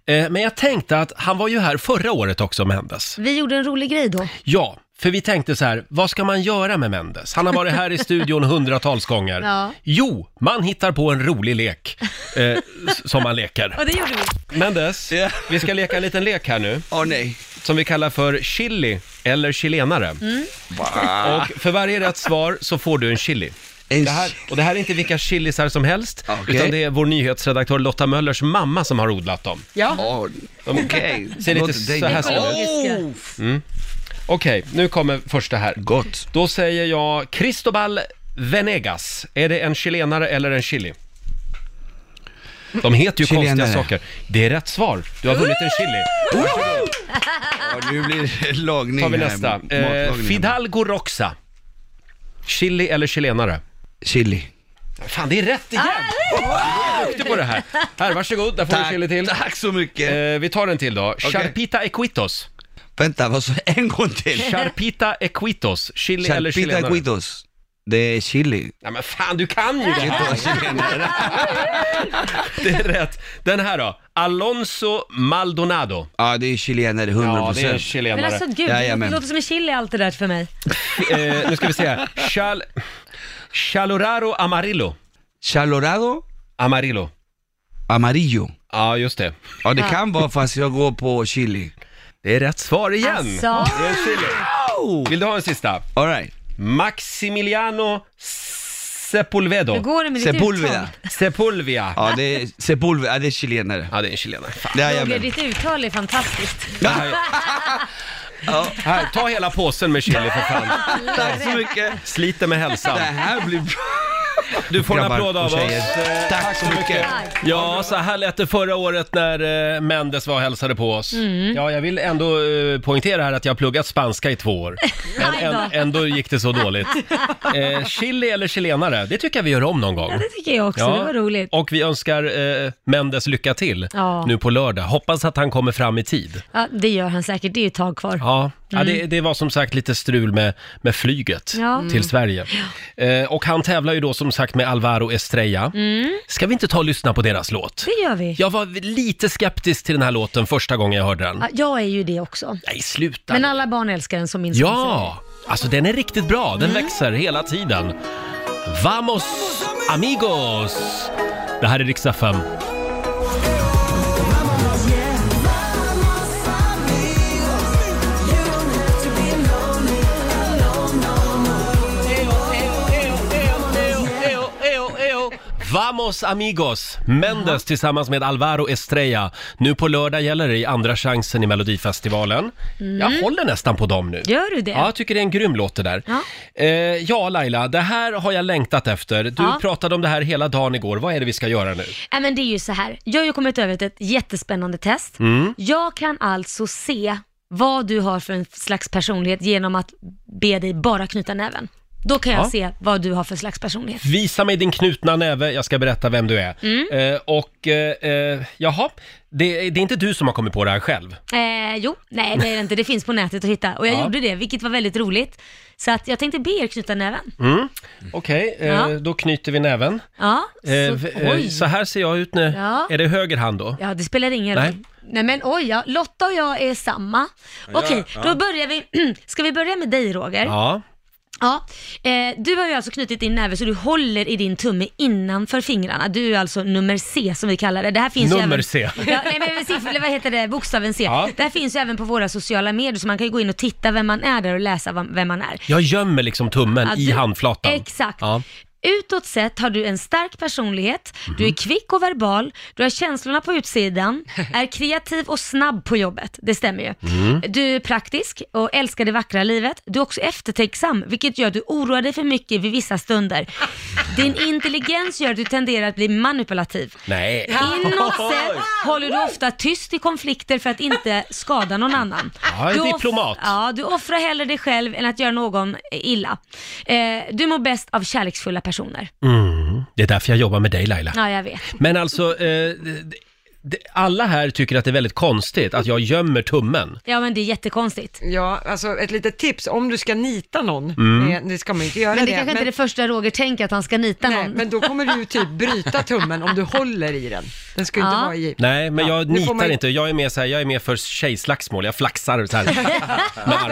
A: Eh, Men jag tänkte att han var ju här förra året också, Mendes.
B: Vi gjorde en rolig grej då.
A: Ja, för vi tänkte så här, vad ska man göra med Mendes? Han har varit
B: (laughs)
A: här i studion hundratals gånger.
B: Ja.
A: Jo, man hittar på en rolig lek eh, s- som man leker.
B: Och det gjorde vi.
A: Mendes, vi ska leka en liten lek här nu.
L: Åh nej.
A: Som vi kallar för chili eller chilenare.
B: Mm.
A: Och för varje rätt svar så får du en chili. Det här, och det här är inte vilka chilisar som helst, utan det är vår nyhetsredaktör Lotta Möllers mamma som har odlat dem.
B: Ja.
A: De
L: Okej.
A: ser lite
L: Låter dig
A: så här
L: lite-
A: ser de ut.
B: Ekologiska.
A: Mm. Okej, nu kommer första här. Gott. Då säger jag Cristobal Venegas. Är det en chilenare eller en chili? De heter ju
L: Chilenare.
A: konstiga saker. Det är rätt svar. Du har vunnit en chili. Varsågod.
L: Ja, nu blir det lagning
A: tar vi
L: här.
A: nästa. Eh,
L: Matlagning.
A: Fidalgo Roxa. Chili eller chilenare?
L: Chili.
A: Fan, det är rätt
B: Ah,
A: igen! Du är duktig på det här. Här, varsågod. Där får du
L: Tack.
A: chili till.
L: Tack så mycket.
A: Eh, vi tar en till då. Charpita Equitos.
L: Vänta, vad sa En gång till.
A: Charpita Equitos. Chili
L: Charpita
A: eller chilenare?
L: Guidos. Det är chili.
A: Ja, men fan, du kan ju det här! (laughs) Det är rätt. Den här då? Alonso Maldonado.
L: Ja, det är chilenare, 100%.
A: Ja, det är chilenare.
B: Men alltså gud, det
L: Jajamän.
B: låter som en chili allt det där för mig.
A: Eh, nu ska vi se här. Chal... Chaloraro Amarillo.
L: Chalorado?
A: Amarillo.
L: Amarillo.
A: Ja, just det.
L: Ja, det
B: Ja.
L: kan vara fast jag går på chili.
A: Det är rätt svar igen.
B: Alltså.
A: Det är chili. Vill du ha en sista?
L: All right.
A: Maximiliano Sepulvedo.
B: Hur går det med ditt Sepulveda.
A: Sepulvia.
L: Ja, det är Sepulveda. Ja, det är chilenare.
A: Ja, det är en chilenare. Fan.
B: Roger, ditt uttal är fantastiskt.
A: Det
B: (laughs)
A: här- Här, ta hela påsen med chili för fan.
L: Tack så mycket.
A: Sliter med hälsan.
L: Det här blir bra.
A: Du får en
L: Grabbar
A: applåd
L: och
A: av oss.
L: tjejer.
A: Eh,
L: Tack så mycket.
A: Ja, så här lät det förra året när eh, Mendes var och hälsade på oss.
B: Mm.
A: Ja, jag vill ändå eh, poängtera här att jag har pluggat spanska i två
B: (laughs)
A: år. Men
B: Aj
A: än,
B: då.
A: ändå gick det så
B: (laughs)
A: dåligt. Eh, chili eller chilenare, det tycker jag vi gör om någon gång.
B: Ja, det tycker jag också.
A: Ja.
B: Det var roligt.
A: Och vi önskar eh, Mendes lycka till
B: Ja.
A: nu på lördag. Hoppas att han kommer fram i tid.
B: Ja, det gör han säkert. Det är ju ett tag kvar.
A: Ja, ja
B: Mm.
A: det, det var som sagt lite strul med, med flyget
B: Ja. Mm.
A: till Sverige. Eh, och han tävlar ju då som sagt med Alvaro Estrella.
B: Mm,
A: Ska vi inte ta och lyssna på deras låt?
B: det gör vi.
A: Jag var lite skeptisk till den här låten första gången jag hörde den.
B: Ja, jag är ju det också.
A: Nej, sluta!
B: Men alla barn älskar den som min son
A: Ja! Alltså den är riktigt bra, den
B: Mm.
A: växer hela tiden. Vamos amigos! Det här är riksdag 5. Vamos amigos! Mendes tillsammans med Alvaro Estrella. Nu på lördag gäller det i Andra chansen i Melodifestivalen.
B: Mm.
A: Jag håller nästan på dem nu.
B: Gör du det?
A: Ja, jag tycker det är en grym låt det där.
B: Ja.
A: Eh, ja, Laila, det här har jag längtat efter. Du
B: Ja.
A: pratade om det här hela dagen igår. Vad är det vi ska göra nu?
B: Nej men det är ju så här. Jag har ju kommit över till ett jättespännande test.
A: Mm.
B: Jag kan alltså se vad du har för en slags personlighet genom att be dig bara knyta näven. Då kan jag
A: Ja.
B: se vad du har för slags personlighet.
A: Visa mig din knutna näve, jag ska berätta vem du är.
B: Mm.
A: Eh, och eh, eh, jaha, det, det är inte du som har kommit på det här själv.
B: Eh, jo, nej det är det inte. Det finns på nätet att hitta. Och jag
A: Ja.
B: gjorde det, vilket var väldigt roligt. Så att jag tänkte be er knyta näven.
A: Mm. Okej, eh,
B: Ja.
A: då knyter vi näven.
B: Ja,
A: Eh,
B: så,
A: v- eh,
B: oj.
A: så här ser jag ut nu.
B: Ja.
A: Är det höger hand då?
B: Ja, det spelar ingen
A: Nej.
B: roll. Nej men oj, ja. Lotta och jag är samma.
A: Ja,
B: Okej,
A: ja.
B: då börjar vi. (clears throat) Ska vi börja med dig Roger?
A: Ja.
B: Ja, eh, du har ju alltså knutit din näve så du håller i din tumme innanför fingrarna. Du är alltså nummer C som vi kallar det. det här finns ju
A: Nummer
B: även...
A: C.
B: Ja, nej, men siffror, eller vad heter det? Bokstaven C.
A: Ja.
B: Det här finns ju även på våra sociala medier så man kan ju gå in och titta vem man är där och läsa vem- vem man är.
A: Jag gömmer liksom tummen
B: Ja,
A: i
B: du-
A: handflatan.
B: Exakt.
A: Ja.
B: Utåt sett har du en stark personlighet, du är kvick och verbal, du har känslorna på utsidan, är kreativ och snabb på jobbet. Det stämmer ju.
M: Mm.
B: Du är praktisk och älskar det vackra livet. Du är också eftertänksam, vilket gör att du oroar dig för mycket vid vissa stunder. Din intelligens gör att du tenderar att bli manipulativ.
A: Nej.
B: Inåt sett håller du ofta tyst i konflikter för att inte skada någon annan.
A: Ja, en
B: Du off-
A: diplomat.
B: Ja, du offrar hellre dig själv än att göra någon illa. Eh, du mår bäst av kärleksfulla personer.
A: Mm. Det är därför jag jobbar med dig Laila.
B: Ja, jag vet.
A: Men alltså, eh, det- det- alla här tycker att det är väldigt konstigt att jag gömmer tummen.
B: Ja, men det är jättekonstigt.
C: Ja, alltså ett litet tips om du ska nita någon,
A: Mm.
C: eh, det ska man ju inte göra
B: Men det
C: det
B: kanske inte är det första Roger tänker, att han ska nita
C: Nej,
B: någon.
C: men då kommer du ju typ bryta tummen om du håller i den. Den ska ju inte
B: Ja.
C: vara i.
A: Nej, men jag
C: nu får
A: nitar
C: man ju-
A: inte. Jag är mer så här, jag är mer för tjejslagsmål. Jag flaxar
B: (laughs)
A: så här med armarna.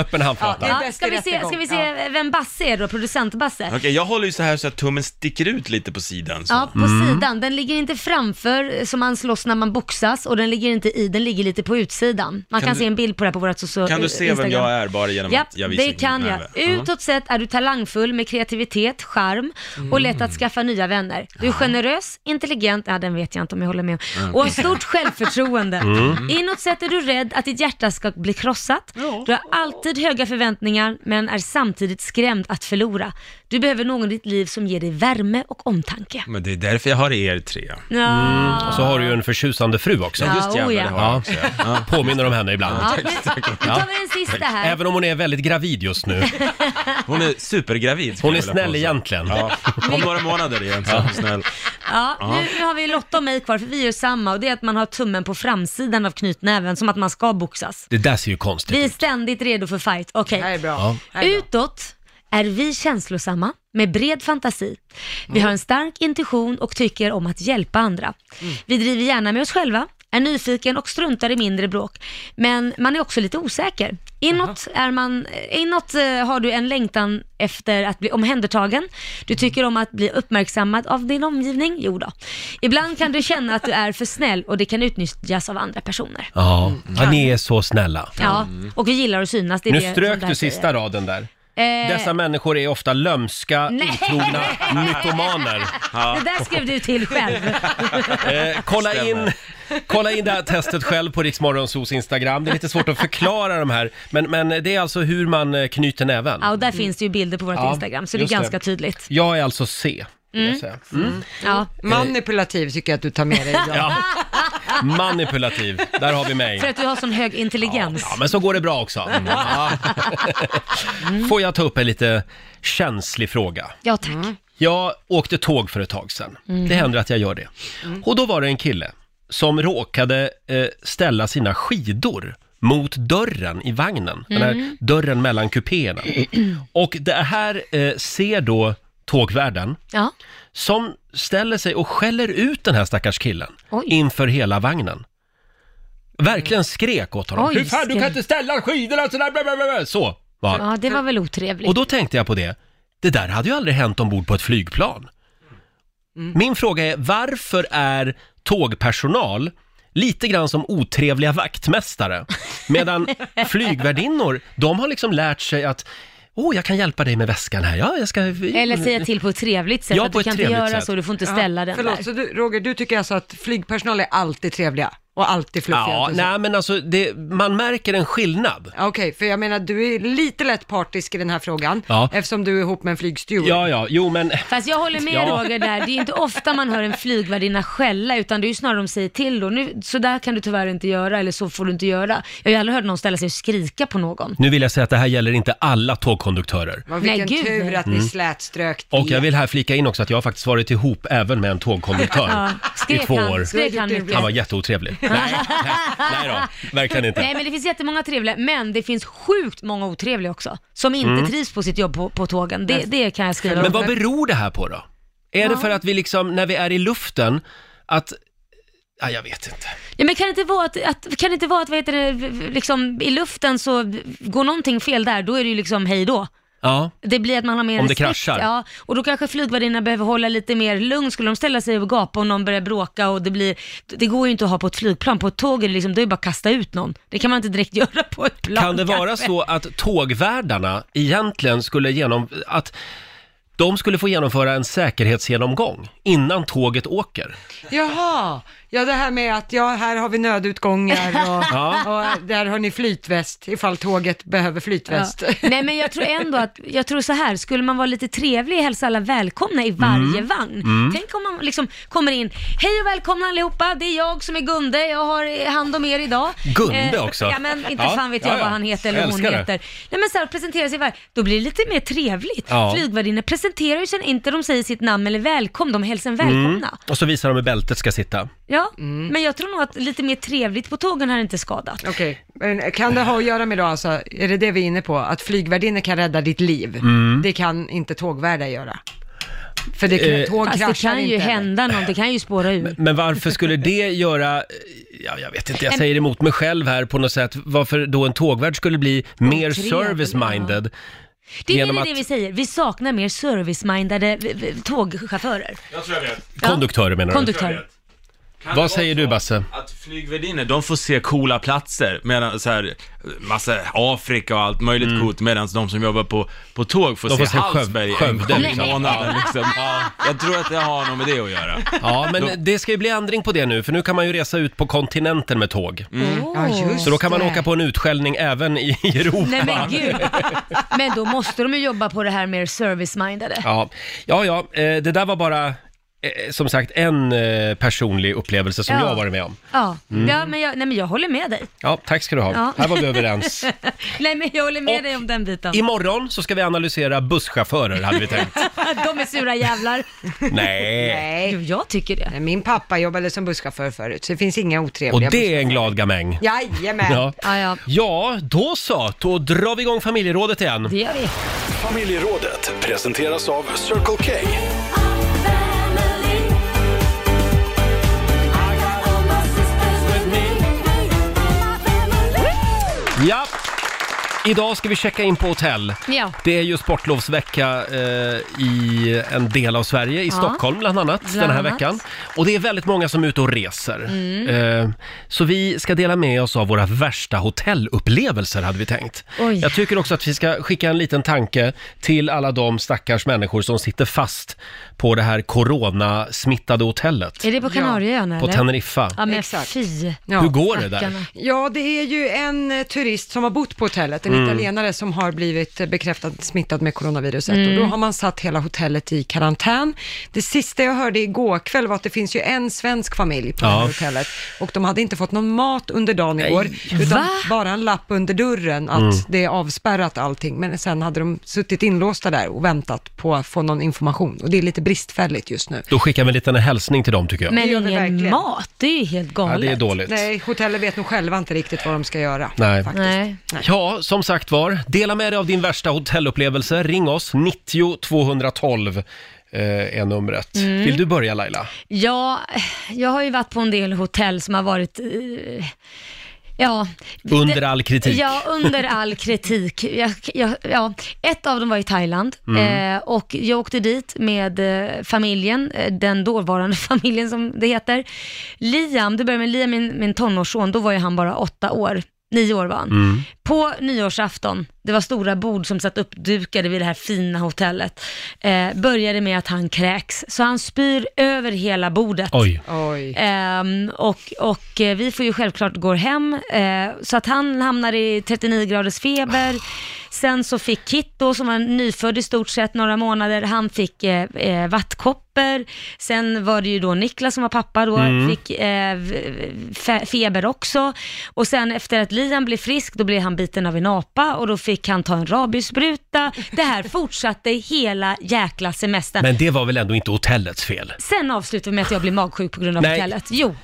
A: Öppen handflata.
B: Ja, ska, vi se, ska vi se vem Basse är då, producent-Basse?
G: Okej, jag håller ju så här så att tummen sticker ut lite på sidan. Så. Mm.
B: Ja, på sidan. Den ligger inte framför eh, som man slåss när man boxas och den ligger inte i, den ligger lite på utsidan. Man kan,
G: Kan du-
B: se en bild på det här på vårt so-
G: Kan du se vem jag är bara genom
B: Ja,
G: att jag visar
B: det kan
G: min
B: jag.
G: näve? Ja.
B: Utåt sett är du talangfull med kreativitet, charm och lätt
G: Mm.
B: att skaffa nya vänner. Du är generös, intelligent, ja den vet jag inte om jag håller med om,
M: Mm.
B: och har
G: (laughs)
B: stort självförtroende.
M: Mm.
B: Inåt sett är du rädd att ditt hjärta ska bli krossat. Du har alltid höga förväntningar men är samtidigt skrämd att förlora. Du behöver någon i ditt liv som ger dig värme och omtanke.
G: Men det är därför jag har er tre.
B: Ja.
A: Mm. Och så har du ju en förtjusande fru också.
B: Ja, Just jävlar, det har jag också,
A: Påminner om henne ibland.
B: Ja, nu, nu tar vi den sista här.
A: Även om hon är väldigt gravid just nu.
G: Hon är supergravid.
A: Hon är snäll egentligen.
G: Ja. Om några månader igen så är hon snäll.
B: Ja,
G: Ja.
B: Nu, nu har vi Lotta och mig kvar, för vi gör samma och det är att man har tummen på framsidan av knytnäven, som att man ska boxas.
A: Det där ser ju konstigt
B: Vi är ständigt redo för fight. Okej.
A: Ja.
C: Det här är bra.
B: Utåt är vi känslosamma med bred fantasi. Vi har en stark intuition och tycker om att hjälpa andra. Vi driver gärna med oss själva, är nyfiken och struntar i mindre bråk. Men man är också lite osäker. Inåt, är man, inåt eh, har du en längtan efter att bli omhändertagen. Du tycker om att bli uppmärksammad av din omgivning. Jo då. Ibland kan du känna att du är för snäll och det kan utnyttjas av andra personer.
A: Ja. ja, ni är så snälla.
B: Ja, och vi gillar att synas. Det är
A: mm. Nu
B: det som det
A: strök
B: här
A: du
B: säger.
A: sista raden där.
B: Eh,
A: Dessa människor är ofta lömska,
B: Nej.
A: otrogna mytomaner.
B: (laughs) Det där skrev du
A: (laughs)
B: till själv.
A: Eh, kolla, in, kolla in det här testet själv på Riksmorgonsos Instagram. Det är lite svårt att förklara de här, men, men det är alltså hur man eh, knyter näven.
B: Ja, och där finns det ju bilder på vårt
A: Ja,
B: Instagram, så det är
A: just det.
B: ganska tydligt.
A: Jag är alltså C. vill jag
B: Mm.
A: säga.
C: Mm.
B: Ja.
C: Manipulativ tycker jag att du
B: (laughs)
C: tar med dig idag.
A: Ja. Manipulativ, där har vi mig.
B: För att du har sån hög intelligens.
A: Ja, men så går det bra också. Mm. Ja. Får jag ta upp en lite känslig fråga?
B: Mm. Ja, tack.
A: Mm. Jag åkte tåg för ett tag sedan.
B: Mm.
A: Det händer att jag gör det. Mm. Och då var det en kille som råkade eh, ställa sina skidor mot dörren i vagnen. Den här
M: Mm.
A: dörren mellan
B: (clears throat)
A: kupéerna. Och det här eh, ser då tågvärden
B: Ja.
A: som ställer sig och skäller ut den här stackars killen
B: Oj.
A: inför hela vagnen. Verkligen skrek åt honom.
B: Oj,
A: Hur fan, du kan
B: skrev-
A: inte ställa skidorna sådär, bla, bla, bla, bla. Så var han.
B: Ja, det var väl otrevligt.
A: Och då tänkte jag på det, det där hade ju aldrig hänt ombord på ett flygplan.
C: Mm.
A: Min fråga är, varför är tågpersonal lite grann som otrevliga
C: (laughs)
A: vaktmästare? Medan flygvärdinnor, de har liksom lärt sig att, åh, jag kan hjälpa dig med väskan här, ja, jag ska...
B: Eller säga till på ett trevligt sätt,
A: Ja,
B: att
A: på
B: du
A: ett
B: kan inte
A: trevligt
B: göra
A: sätt.
B: så, du får inte
C: Ja,
B: ställa den
C: Förlåt,
B: där.
C: så du, Roger, du tycker alltså att flygpersonal är alltid trevliga? och alltid fluffig
A: Ja,
C: och så.
A: nej men alltså det, man märker en skillnad.
C: Okej, för jag menar du är lite lätt partisk i den här frågan
A: Ja.
C: eftersom du är ihop med en flygsteward.
A: Ja, ja, jo men...
B: Fast jag håller med
A: Ja.
B: Roger där, det är inte ofta man hör en flygvärdinna skälla utan det är ju snarare de säger till då, nu, så där kan du tyvärr inte göra eller så får du inte göra. Jag har ju aldrig hört någon ställa sig och skrika på någon.
A: Nu vill jag säga att det här gäller inte alla tågkonduktörer.
C: Vad, vilken
B: Nej, gud,
C: tur
B: nej.
C: att ni
A: Mm.
C: slätströk det.
A: Och jag vill här flika in också att jag har faktiskt varit ihop även med en tågkonduktör
B: (laughs) Ja.
A: i
B: Skrek
A: två
B: han-
A: år.
B: skrek han mycket?
A: var jätteotrevlig.
B: (laughs)
A: Nej, nej då, verkligen
B: Nej
A: inte.
B: men det finns jättemånga trevliga, men det finns sjukt många otrevliga också. Som inte
A: Mm.
B: trivs på sitt jobb på, på tågen. Det, det kan jag skriva
A: Men vad
B: under.
A: beror det här på då? Är det
B: Ja.
A: för att vi liksom, när vi är i luften, att... Ja, jag vet inte.
B: Ja, men kan det inte vara att, att, kan det inte vara att vad heter det, liksom, i luften så går någonting fel där, då är det ju liksom hej då.
A: Ja.
B: Det blir att man har mer
A: Om det
B: respekt.
A: kraschar.
B: Ja, och då kanske flygvärdinnan behöver hålla lite mer lugn. Skulle de ställa sig och gapa och någon börjar bråka och det blir, det går ju inte att ha på ett flygplan. På ett tåg är det liksom, det är ju bara att kasta ut någon. Det kan man inte direkt (laughs) göra på ett plan.
A: Kan det vara
B: kanske.
A: så att tågvärdarna egentligen skulle genom... Att de skulle få genomföra en säkerhetsgenomgång innan tåget åker?
C: Jaha, ja det här med att ja, här har vi nödutgångar
B: (laughs)
C: och,
A: Ja.
C: och där har ni flytväst ifall tåget behöver flytväst.
B: Ja. Nej men jag tror ändå att, jag tror så här, skulle man vara lite trevlig och hälsa alla välkomna i varje
C: Mm.
B: vagn.
C: Mm.
B: Tänk om man liksom kommer in, hej och välkomna allihopa, det är jag som är Gunde, jag har hand om er idag. Eh,
A: Gunde också?
B: Ja men inte
A: Ja,
B: fan vet jag
A: ja, ja.
B: vad han heter eller
A: Jag
B: hon
A: älskar det.
B: heter. Nej men så här, presentera sig varje, då blir det lite mer trevligt.
A: Ja.
B: Flygvärdinnor presenterar ju sig inte, de säger sitt namn eller välkommen, de hälsar en välkomna.
A: Mm. Och så visar de hur bältet ska sitta.
B: Ja,
C: Mm.
B: men jag tror nog att lite mer trevligt på tågen har inte skadat.
C: Okej, men kan det ha att göra med då alltså, är det det vi är inne på, att flygvärdinnor kan rädda ditt liv?
A: Mm.
C: Det kan inte tågvärdar göra. För det,
A: Eh,
C: tåg
B: Fast
C: kraschar
B: det kan ju
C: inte. (laughs)
B: hända något, det kan ju spåra ur.
A: Men varför skulle det göra, eh, ja jag vet inte, jag säger emot mig själv här på något sätt, varför då en tågvärd skulle bli mer
B: Otrevlig,
A: service-minded
B: Det är
A: genom
B: det
A: att,
B: det vi säger, vi saknar mer service-mindade v- v- tågchaufförer.
G: Jag tror jag vet.
A: konduktörer menar du?
B: Konduktörer.
A: Vad säger du Basse?
G: Flygvärdinnor, de får se coola platser, medan så här, massa Afrika och allt möjligt coolt, medan de som jobbar på, på tåg får
A: Mm. De
G: se,
A: får se Sköv-
G: Hallsberg en
A: Skövde,
G: gång i
A: liksom.
G: månaden. Liksom. Ja, jag tror att det har nog med det att göra.
A: Ja,
G: De-
A: men det ska ju bli ändring på det nu, för nu kan man ju resa ut på kontinenten med tåg.
B: Ja, just
A: Så då kan man
B: det.
A: åka på en utskällning även i (laughs) i Europa.
B: Nej men gud.
G: (laughs)
B: Men då måste de ju jobba på det här mer service-mindade.
A: Ja, ja, ja eh, det där var bara, eh, som sagt, en eh, personlig upplevelse som
B: Ja.
A: jag har varit med om.
B: Ja,
A: Mm.
B: ja men, jag, nej, men jag håller med dig.
A: Ja, tack ska du ha.
B: Ja.
A: Här var vi överens.
B: (laughs) nej men jag håller med dig om den biten.
A: Imorgon så ska vi analysera busschaufförer, hade vi
B: (laughs)
A: tänkt.
B: de är sura jävlar.
A: Nej.
C: Nej.
B: Jag tycker det.
C: Min pappa jobbade som busschaufför förut, så det finns inga
A: Och
C: otrevliga
A: det är en glad gamäng.
C: buss- Jajamän.
A: Ja.
B: Ja, ja.
A: ja, då så. Då drar vi igång familjerådet igen.
B: Det gör vi.
E: Familjerådet presenteras av Circle K.
A: Ja. Idag ska vi checka in på hotell.
B: Ja.
A: Det är ju sportlovsvecka eh, i en del av Sverige, i
B: Ja.
A: Stockholm bland annat,
B: Bland
A: den här
B: annat.
A: veckan. Och det är väldigt många som är ute och reser.
B: Mm.
A: Eh, så vi ska dela med oss av våra värsta hotellupplevelser hade vi tänkt.
B: Oj.
A: Jag tycker också att vi ska skicka en liten tanke till alla de stackars människor som sitter fast på det här coronasmittade hotellet.
B: Är det på Kanarieöarna
A: På
B: eller?
A: Teneriffa.
B: Ja men fy.
A: Hur går det där? Stackarna.
C: Ja, det är ju en eh, turist som har bott på hotellet, en
A: Mm.
C: italienare som har blivit eh, bekräftad smittad med coronaviruset
B: Mm.
C: och då har man satt hela hotellet i karantän. Det sista jag hörde igår kväll var att det finns ju en svensk familj på det
A: Ja.
C: här hotellet och de hade inte fått någon mat under dagen igår, utan
B: Va?
C: bara en lapp under dörren att
A: Mm.
C: det är avspärrat allting, men sen hade de suttit inlåsta där och väntat på att få någon information och det är lite bristfälligt just nu.
A: Då skickar vi en liten hälsning till dem tycker jag.
B: Men ingen mat, det är ju helt galet.
A: Ja, det är dåligt.
C: Nej, hotellet vet nog själva inte riktigt vad de ska göra.
A: Nej.
C: Faktiskt.
A: Ja, som sagt var, dela med dig av din värsta hotellupplevelse. Ring oss, 90 212 eh, är numret.
B: Mm.
A: Vill du börja Laila?
B: Ja, jag har ju varit på en del hotell som har varit, eh, ja.
A: Under all kritik.
B: Ja, under all kritik. Jag, jag, ja. Ett av dem var i Thailand
A: Mm.
B: eh, och jag åkte dit med eh, familjen, eh, den dåvarande (laughs) familjen som det heter. Liam, det började med Liam,
A: Mm.
B: min, min tonårsson, då var ju han bara åtta år, nio år var han. På nyårsafton, Det var stora bord som satt uppdukade vid det här fina hotellet. Eh, började med att han kräks, så han spyr över hela bordet.
A: Oj.
B: Ehm, och, och eh, vi får ju självklart gå hem, eh, så att han hamnar i 39 graders feber. Sen så fick Kit då, som var nyfödd i stort sett, några månader, han fick eh, eh, vattkoppor. Sen var det ju då Niklas som var pappa då,
M: Mm.
B: fick eh, v- fe- feber också. Och sen efter att Liam blev frisk, då blev han biten av en apa och då fick han ta en rabiesspruta. Det här fortsatte hela jäkla semestern.
A: Men det var väl ändå inte hotellets fel?
B: Sen avslutade vi med att jag blev magsjuk på grund av
A: Nej.
B: hotellet. Jo,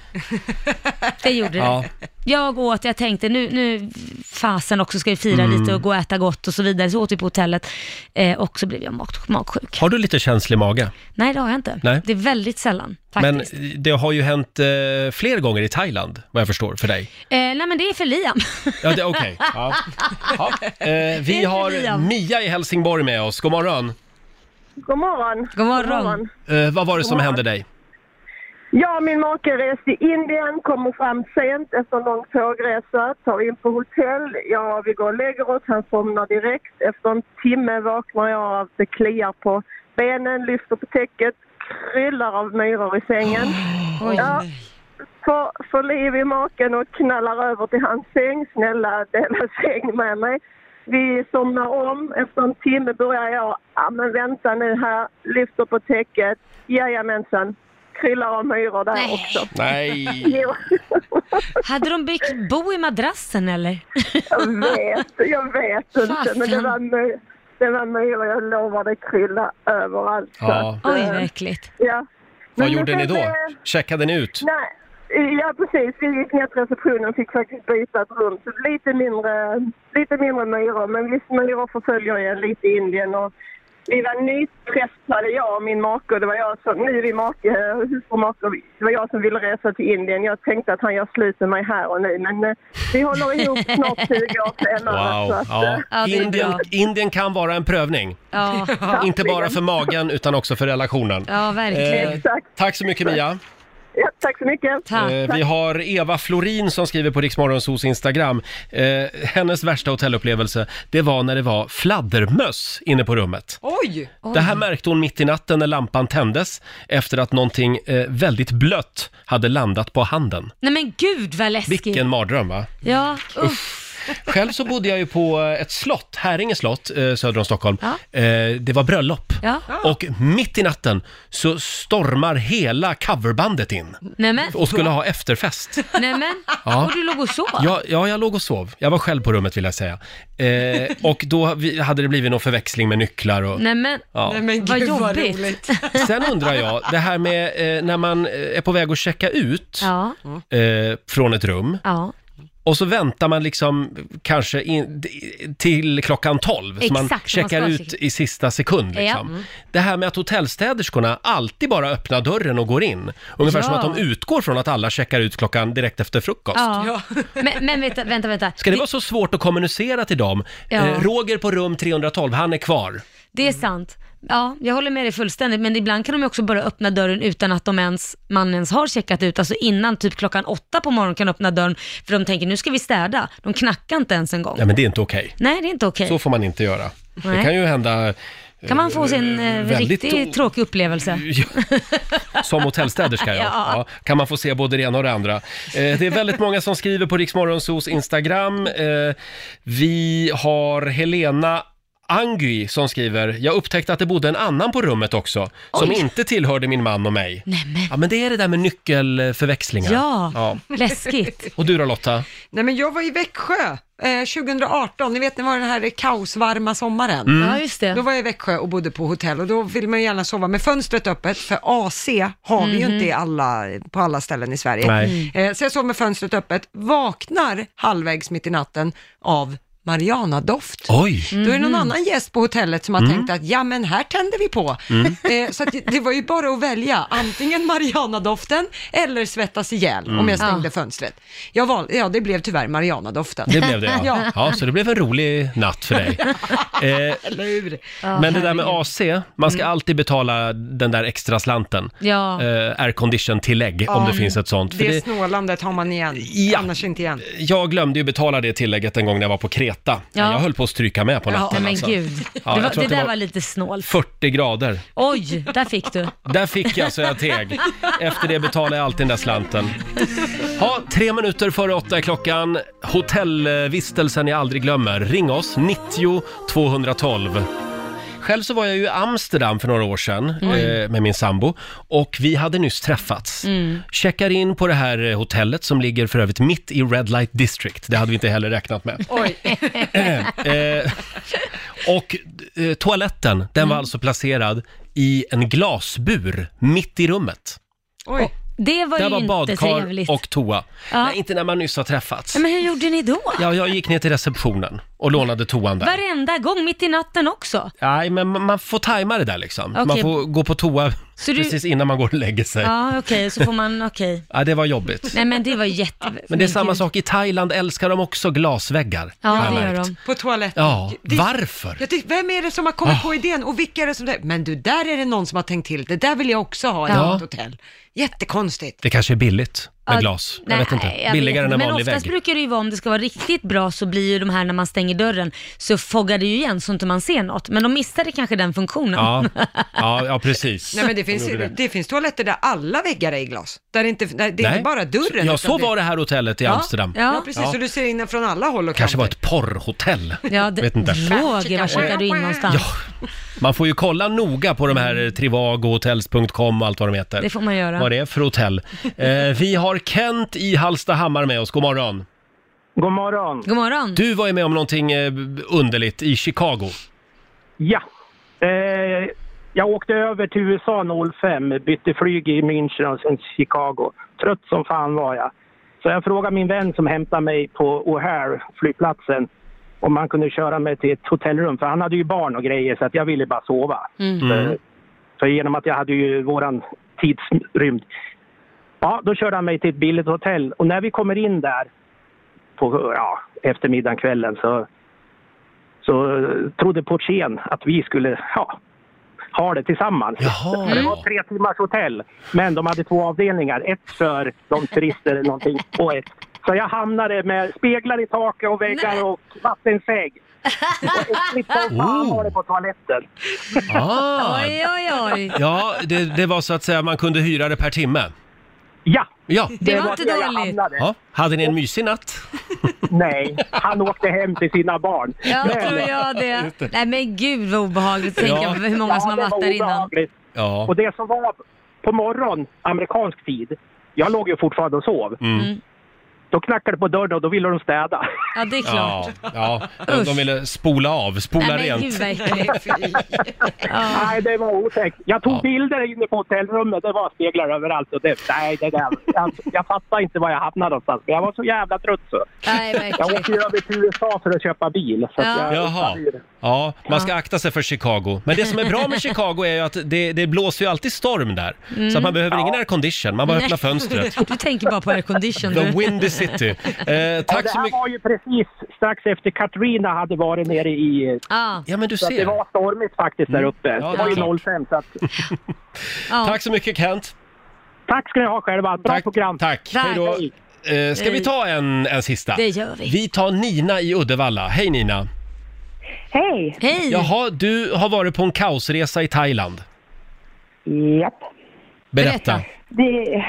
B: det gjorde det.
A: Ja.
B: Jag åt, jag tänkte nu, nu fasen också ska vi fira
A: Mm.
B: lite och gå och äta gott och så vidare. Så åt vi på hotellet eh, och så blev jag mag, (laughs) magsjuk.
A: Har du lite känslig mage?
B: Nej, det har jag inte.
A: Nej.
B: Det är väldigt sällan
A: Men
B: faktiskt.
A: det har ju hänt eh, fler gånger i Thailand, vad jag förstår, för
B: (laughs)
A: dig.
B: Eh, nej, men det är för Liam.
A: Ja, det-
B: (laughs)
A: okej. Ja. Eh,
B: Det är
A: vi
B: för
A: har
B: Liam.
A: Mia i Helsingborg med oss. God morgon.
M: God morgon.
K: (laughs)
B: God
M: morgon.
A: Eh, vad var det som
M: God morgon.
A: hände dig?
M: Jag och min make reste i Indien, kommer fram sent efter en lång tågresa, tar in på hotell. Ja, vi går och lägger oss, han somnar direkt. Efter en timme vaknar jag av att det kliar på benen, lyfter på täcket, kryllar av myror i sängen. Ja, får, får liv i maken och knallar över till hans säng. Snälla, dela säng med mig. Vi somnar om. Efter en timme börjar jag, ja men vänta nu här, lyfter på täcket. Jajamensan, kryllar av myror där också.
A: Nej.
M: Jo,
B: Hade de byggt bo i madrassen eller?
M: jag vet, jag vet inte. Men det
B: Fasen.
M: var, my- det var myror, jag lovar, det kryllade överallt.
A: Ja.
M: Så att,
A: Oj,
M: eh,
A: vad
B: äckligt.
M: Ja.
A: Vad
M: Men
A: gjorde
M: sen
A: ni då?
M: så-
A: Checkade ni ut?
M: Nej, ja precis. Vi gick ner till receptionen och fick faktiskt byta ett rum. Så lite mindre, lite mindre myror, men visst myror förföljer en lite i Indien. Och vi var nyträffade, jag och min make. och Det var jag som, nu är vi make, hustrumake. och vi- Det var jag som ville resa till Indien. Jag tänkte att han gör slut med mig här och nu, men eh, vi
A: (laughs)
M: håller ihop snart 20 år senare. så
A: Wow.
M: att, eh,
A: Ja. Indien, Indien kan vara en prövning.
B: Ja.
A: (laughs) Inte bara för magen utan också för relationen. Eh,
B: Ja, verkligen.
A: tack så mycket Mia.
M: Ja, tack så mycket.
A: Eh, vi har Eva Florin som skriver på Riksmorgonsos Instagram. Eh, hennes värsta hotellupplevelse, det var när det var fladdermöss inne på rummet.
C: Oj!
A: Det här märkte hon mitt i natten när lampan tändes efter att någonting eh, väldigt blött hade landat på handen.
B: Nej men gud vad läskigt.
A: Vilken mardröm va?
B: Ja, uff.
A: Själv så bodde jag ju på eh, ett slott, Häringe slott, eh, söder om Stockholm. Eh, Det var bröllop.
B: Ja.
A: Och mitt i natten så stormar hela coverbandet in
B: Nej men.
A: och skulle ha efterfest.
B: Nej men.
A: Ja.
B: Och du låg och sov?
A: Ja, ja, jag låg och sov. Jag var själv på rummet vill jag säga. Eh, och då vi- hade det blivit någon förväxling med nycklar och...
B: Nej men,
A: Ja. Nej, men
B: vad
A: gud, vad
B: jobbigt.
A: Sen undrar jag, det här med eh, när man eh, är på väg att checka ut
B: (laughs) Ja.
A: eh, från ett rum
B: Ja.
A: och så väntar man liksom kanske in, till klockan 12 så man
B: Exakt,
A: checkar
B: man ska
A: ut i sista sekund. Liksom.
B: Ja. Mm.
A: Det här med att hotellstäderskorna alltid bara öppnar dörren och går in. Ungefär
B: Ja.
A: som att de utgår från att alla checkar ut klockan direkt efter frukost.
B: Ja. Men, men vänta, vänta, vänta.
A: Ska det vara så svårt att kommunicera till dem?
B: Ja.
A: Eh, Roger på rum 312, han är kvar.
B: Det är sant. Ja, jag håller med dig fullständigt, men ibland kan de ju också bara öppna dörren utan att de ens, man ens har checkat ut. Alltså innan typ klockan åtta på morgonen kan de öppna dörren, för de tänker nu ska vi städa. De knackar inte ens en gång.
A: Nej men det är inte okej.
B: Nej, det är inte okej.
A: Så får man inte göra. Det
B: Nej.
A: kan ju hända... eh,
B: Kan man få sin eh,
A: väldigt
B: riktigt tråkig upplevelse?
A: Som hotellstäderska, ja.
B: (laughs) Ja.
A: ja. Kan man få se både det ena och det andra. Eh, det är väldigt många som skriver på Riksmorgonsos Instagram. Eh, vi har Helena Angui som skriver, jag upptäckte att det bodde en annan på rummet också, som
B: Oj.
A: inte tillhörde min man och mig.
B: Nämen.
A: Ja, men det är det där med nyckelförväxlingar.
C: Ja.
B: Läskigt.
A: Och du då Lotta?
C: Nej men jag var i Växjö eh, 2018, ni vet när det var den här kaosvarma sommaren.
A: Mm. Ja, just det.
C: Då var jag i Växjö och bodde på hotell och då vill man ju gärna sova med fönstret öppet för AC har vi ju
N: Mhm.
C: inte i alla, på alla ställen i Sverige.
N: Nej.
B: Mm.
C: Eh, så jag sov med fönstret öppet, vaknar halvvägs mitt i natten av Mariana-doft.
A: Oj!
C: Då är det någon annan gäst på hotellet som har
A: Mhm. Mm.
C: tänkt att ja men här tänder vi på.
A: Mm.
C: Eh, så att det- det var ju bara att välja antingen Mariana-doften eller svettas ihjäl
A: Mm.
C: om jag stängde
A: Ja.
C: fönstret. Jag valde, ja det blev tyvärr Mariana-doften.
A: Det blev det
C: (laughs)
B: (laughs)
A: ja. ja. så det blev en rolig natt för dig. Eh,
C: Eller hur?
A: Men det där med AC, man
B: Mm.
A: ska alltid betala den där extra slanten.
C: Ja.
A: Eh, Aircondition-tillägg, Eh, om
C: Ja.
A: det finns ett sånt. För
C: Det
A: det,
C: snålandet har man igen, annars inte igen.
A: jag glömde ju betala det tillägget en gång när jag var på Kreta heta.
B: Ja.
A: Jag höll på att stryka med på
B: Ja,
A: natten.
B: men
A: alltså.
B: gud.
A: Ja,
B: det,
A: jag
B: var,
A: tror
B: det
A: att det
B: där
A: var
B: var lite snålt.
A: 40 grader.
B: Oj, där fick
C: (laughs)
B: du.
A: Där fick jag så jag teg. Efter det betalade jag alltid den där slanten. Ha, tre minuter före åtta är klockan. Hotellvistelsen jag aldrig glömmer. Ring oss, 90 212. Själv så var jag ju i Amsterdam för några år sedan
O: Oj.
A: eh, med min sambo och vi hade nyss träffats.
O: Mm.
A: Checkar in på det här eh, hotellet som ligger för övrigt mitt i Red Light District. Det hade vi inte heller räknat med.
O: Oj.
A: Eh, och eh, toaletten, den
B: Mm.
A: var alltså placerad i en glasbur mitt i rummet.
B: Oj. Det var
A: Där
B: ju
A: var
B: inte
A: badkar
B: trevligt.
A: och toa.
B: Ja.
A: Nej, inte när man nyss har träffats.
B: Ja, Men hur gjorde ni då?
A: Ja, jag gick ner till receptionen och lånade toan där.
B: Varenda gång, mitt i natten också?
A: Nej, men man- man får tajma det där liksom. Man
B: Okej.
A: får gå på toa
B: Så du-
A: precis innan man går och lägger sig. Ja.
B: Ja, okej, så får man, okej.
A: det var jobbigt.
B: Nej men det var jätte...
A: (laughs) Men det är samma sak i Thailand, älskar de också glasväggar. har jag märkt.
C: På toaletten.
A: Ja,
C: Det-
A: varför?
C: Jag tyck, vem är det som har kommit
A: Ah.
C: på idén och vilka är det som... det- Men du, där är det någon som har tänkt till. Det där vill jag också ha i
A: Ja.
C: mitt hotell. Jättekonstigt.
A: Det kanske är billigt med
B: Ja,
A: glas. Jag
B: nej,
A: vet inte.
B: jag
A: Billigare
B: vet inte.
A: än en vanlig
B: Men oftast
A: vägg.
B: brukar det ju vara, om det ska vara riktigt bra, så blir ju de här när man stänger dörren, så foggar det ju igen så inte man ser något. Men de missade kanske den funktionen. (laughs)
A: Ja, ja, ja precis.
C: Nej men det finns,
A: De gjorde
C: det. finns toaletter där alla väggar är i glas. Där det inte, där, det är
A: Nej.
C: inte bara dörren.
A: Ja,
C: utan
A: så var det här hotellet i
C: ja,
A: Amsterdam.
C: Ja, precis. Så du ser in från alla håll och
A: kanske
C: kanter.
A: var ett porrhotell.
B: Ja, det,
A: Vet inte.
B: Roger, var checkar du in någonstans?
A: Man får ju kolla noga på de här eh, Trivago, Hotels.com och allt vad de heter.
B: Det får man göra.
A: Vad det är för
B: (laughs)
A: hotell. Eh, vi har Kent i Hallstahammar med oss. God morgon.
J: God morgon.
B: God morgon.
A: Du var ju med om någonting eh, underligt i Chicago.
J: Ja. Eh, jag åkte över till USA 05, bytte flyg i München och sen Chicago. Trött som fan var jag. Så jag frågade min vän som hämtade mig på O'Hare, flygplatsen, om han kunde köra mig till ett hotellrum. För han hade ju barn och grejer så att jag ville bara sova.
O: Mm.
J: För genom att jag hade ju våran tidsrymd. Ja, då körde han mig till ett billigt hotell och när vi kommer in där på ja, eftermiddagen, kvällen så, så eh, trodde portieren att vi skulle ja, ha det tillsammans. För Det var tre timmars hotell, men de hade två avdelningar. Ett för de turister eller någonting och ett. Så jag hamnade med speglar i taket och väggar och vattensäng. Och äckligt som fan
A: Oh.
J: var det på toaletten.
A: Ah.
B: Oj, oj, oj.
A: Ja, det, det var så att säga man kunde hyra det per timme.
J: Ja.
A: ja.
B: Det var inte dåligt.
A: Ja. Hade ni en mysig natt?
J: (laughs) Nej, han åkte hem till sina barn.
B: Ja,
J: Men-
B: tror jag det. Nej men gud vad obehagligt att
J: Ja.
B: tänka på hur många som har
J: Ja, det
B: varit där
J: var
B: innan.
J: obehagligt.
A: Ja.
J: Och det som var på morgon, amerikansk tid, jag låg ju fortfarande och sov.
A: Mm.
J: Då knackade det på dörren och då ville de städa.
B: Ja, det är klart.
J: (laughs)
A: Ja, ja. De, de ville spola av, spola
J: Nej, men
A: rent.
J: gud,
B: vad äckligt.
J: Nej, det var otäckt. Jag tog bilder inne på hotellrummet. Det var speglar överallt. Och det, nej, det där. Jag, jag fattar inte var jag hamnade någonstans. Men jag var så jävla trött så.
B: Nej, men
J: jag åkte ju över till USA för att köpa bil. Så att jag,
A: Jaha. Ja, man ska akta sig för Chicago. Men det som är bra med Chicago är ju att det, det blåser ju alltid storm där. Så
B: Mm.
A: att man behöver ingen aircondition, man bara öppnar
B: Nej. (laughs)
A: fönstret.
B: Du tänker bara på aircondition.
A: The
B: du.
A: Windy City. Eh,
J: Ja,
A: tack
J: det
A: så
J: här
A: mycket.
J: var ju precis strax efter Katrina hade varit nere i...
A: Ja, men du
J: så att
A: ser.
J: det var stormigt faktiskt där
A: Mm.
J: uppe.
A: Ja,
J: det
A: det är
J: var ju
A: klart.
J: 05
A: (laughs)
J: så att...
A: Tack så mycket Kent.
J: Tack ska ni ha själva. Bra program.
A: Tack. Hej då. Eh, ska vi ta en, en sista?
J: Det gör vi.
A: Vi tar Nina i Uddevalla. Hej Nina.
P: Hej!
B: Hej!
A: Jaha, du har varit på en kaosresa i Thailand.
P: Japp.
A: Berätta.
P: Det,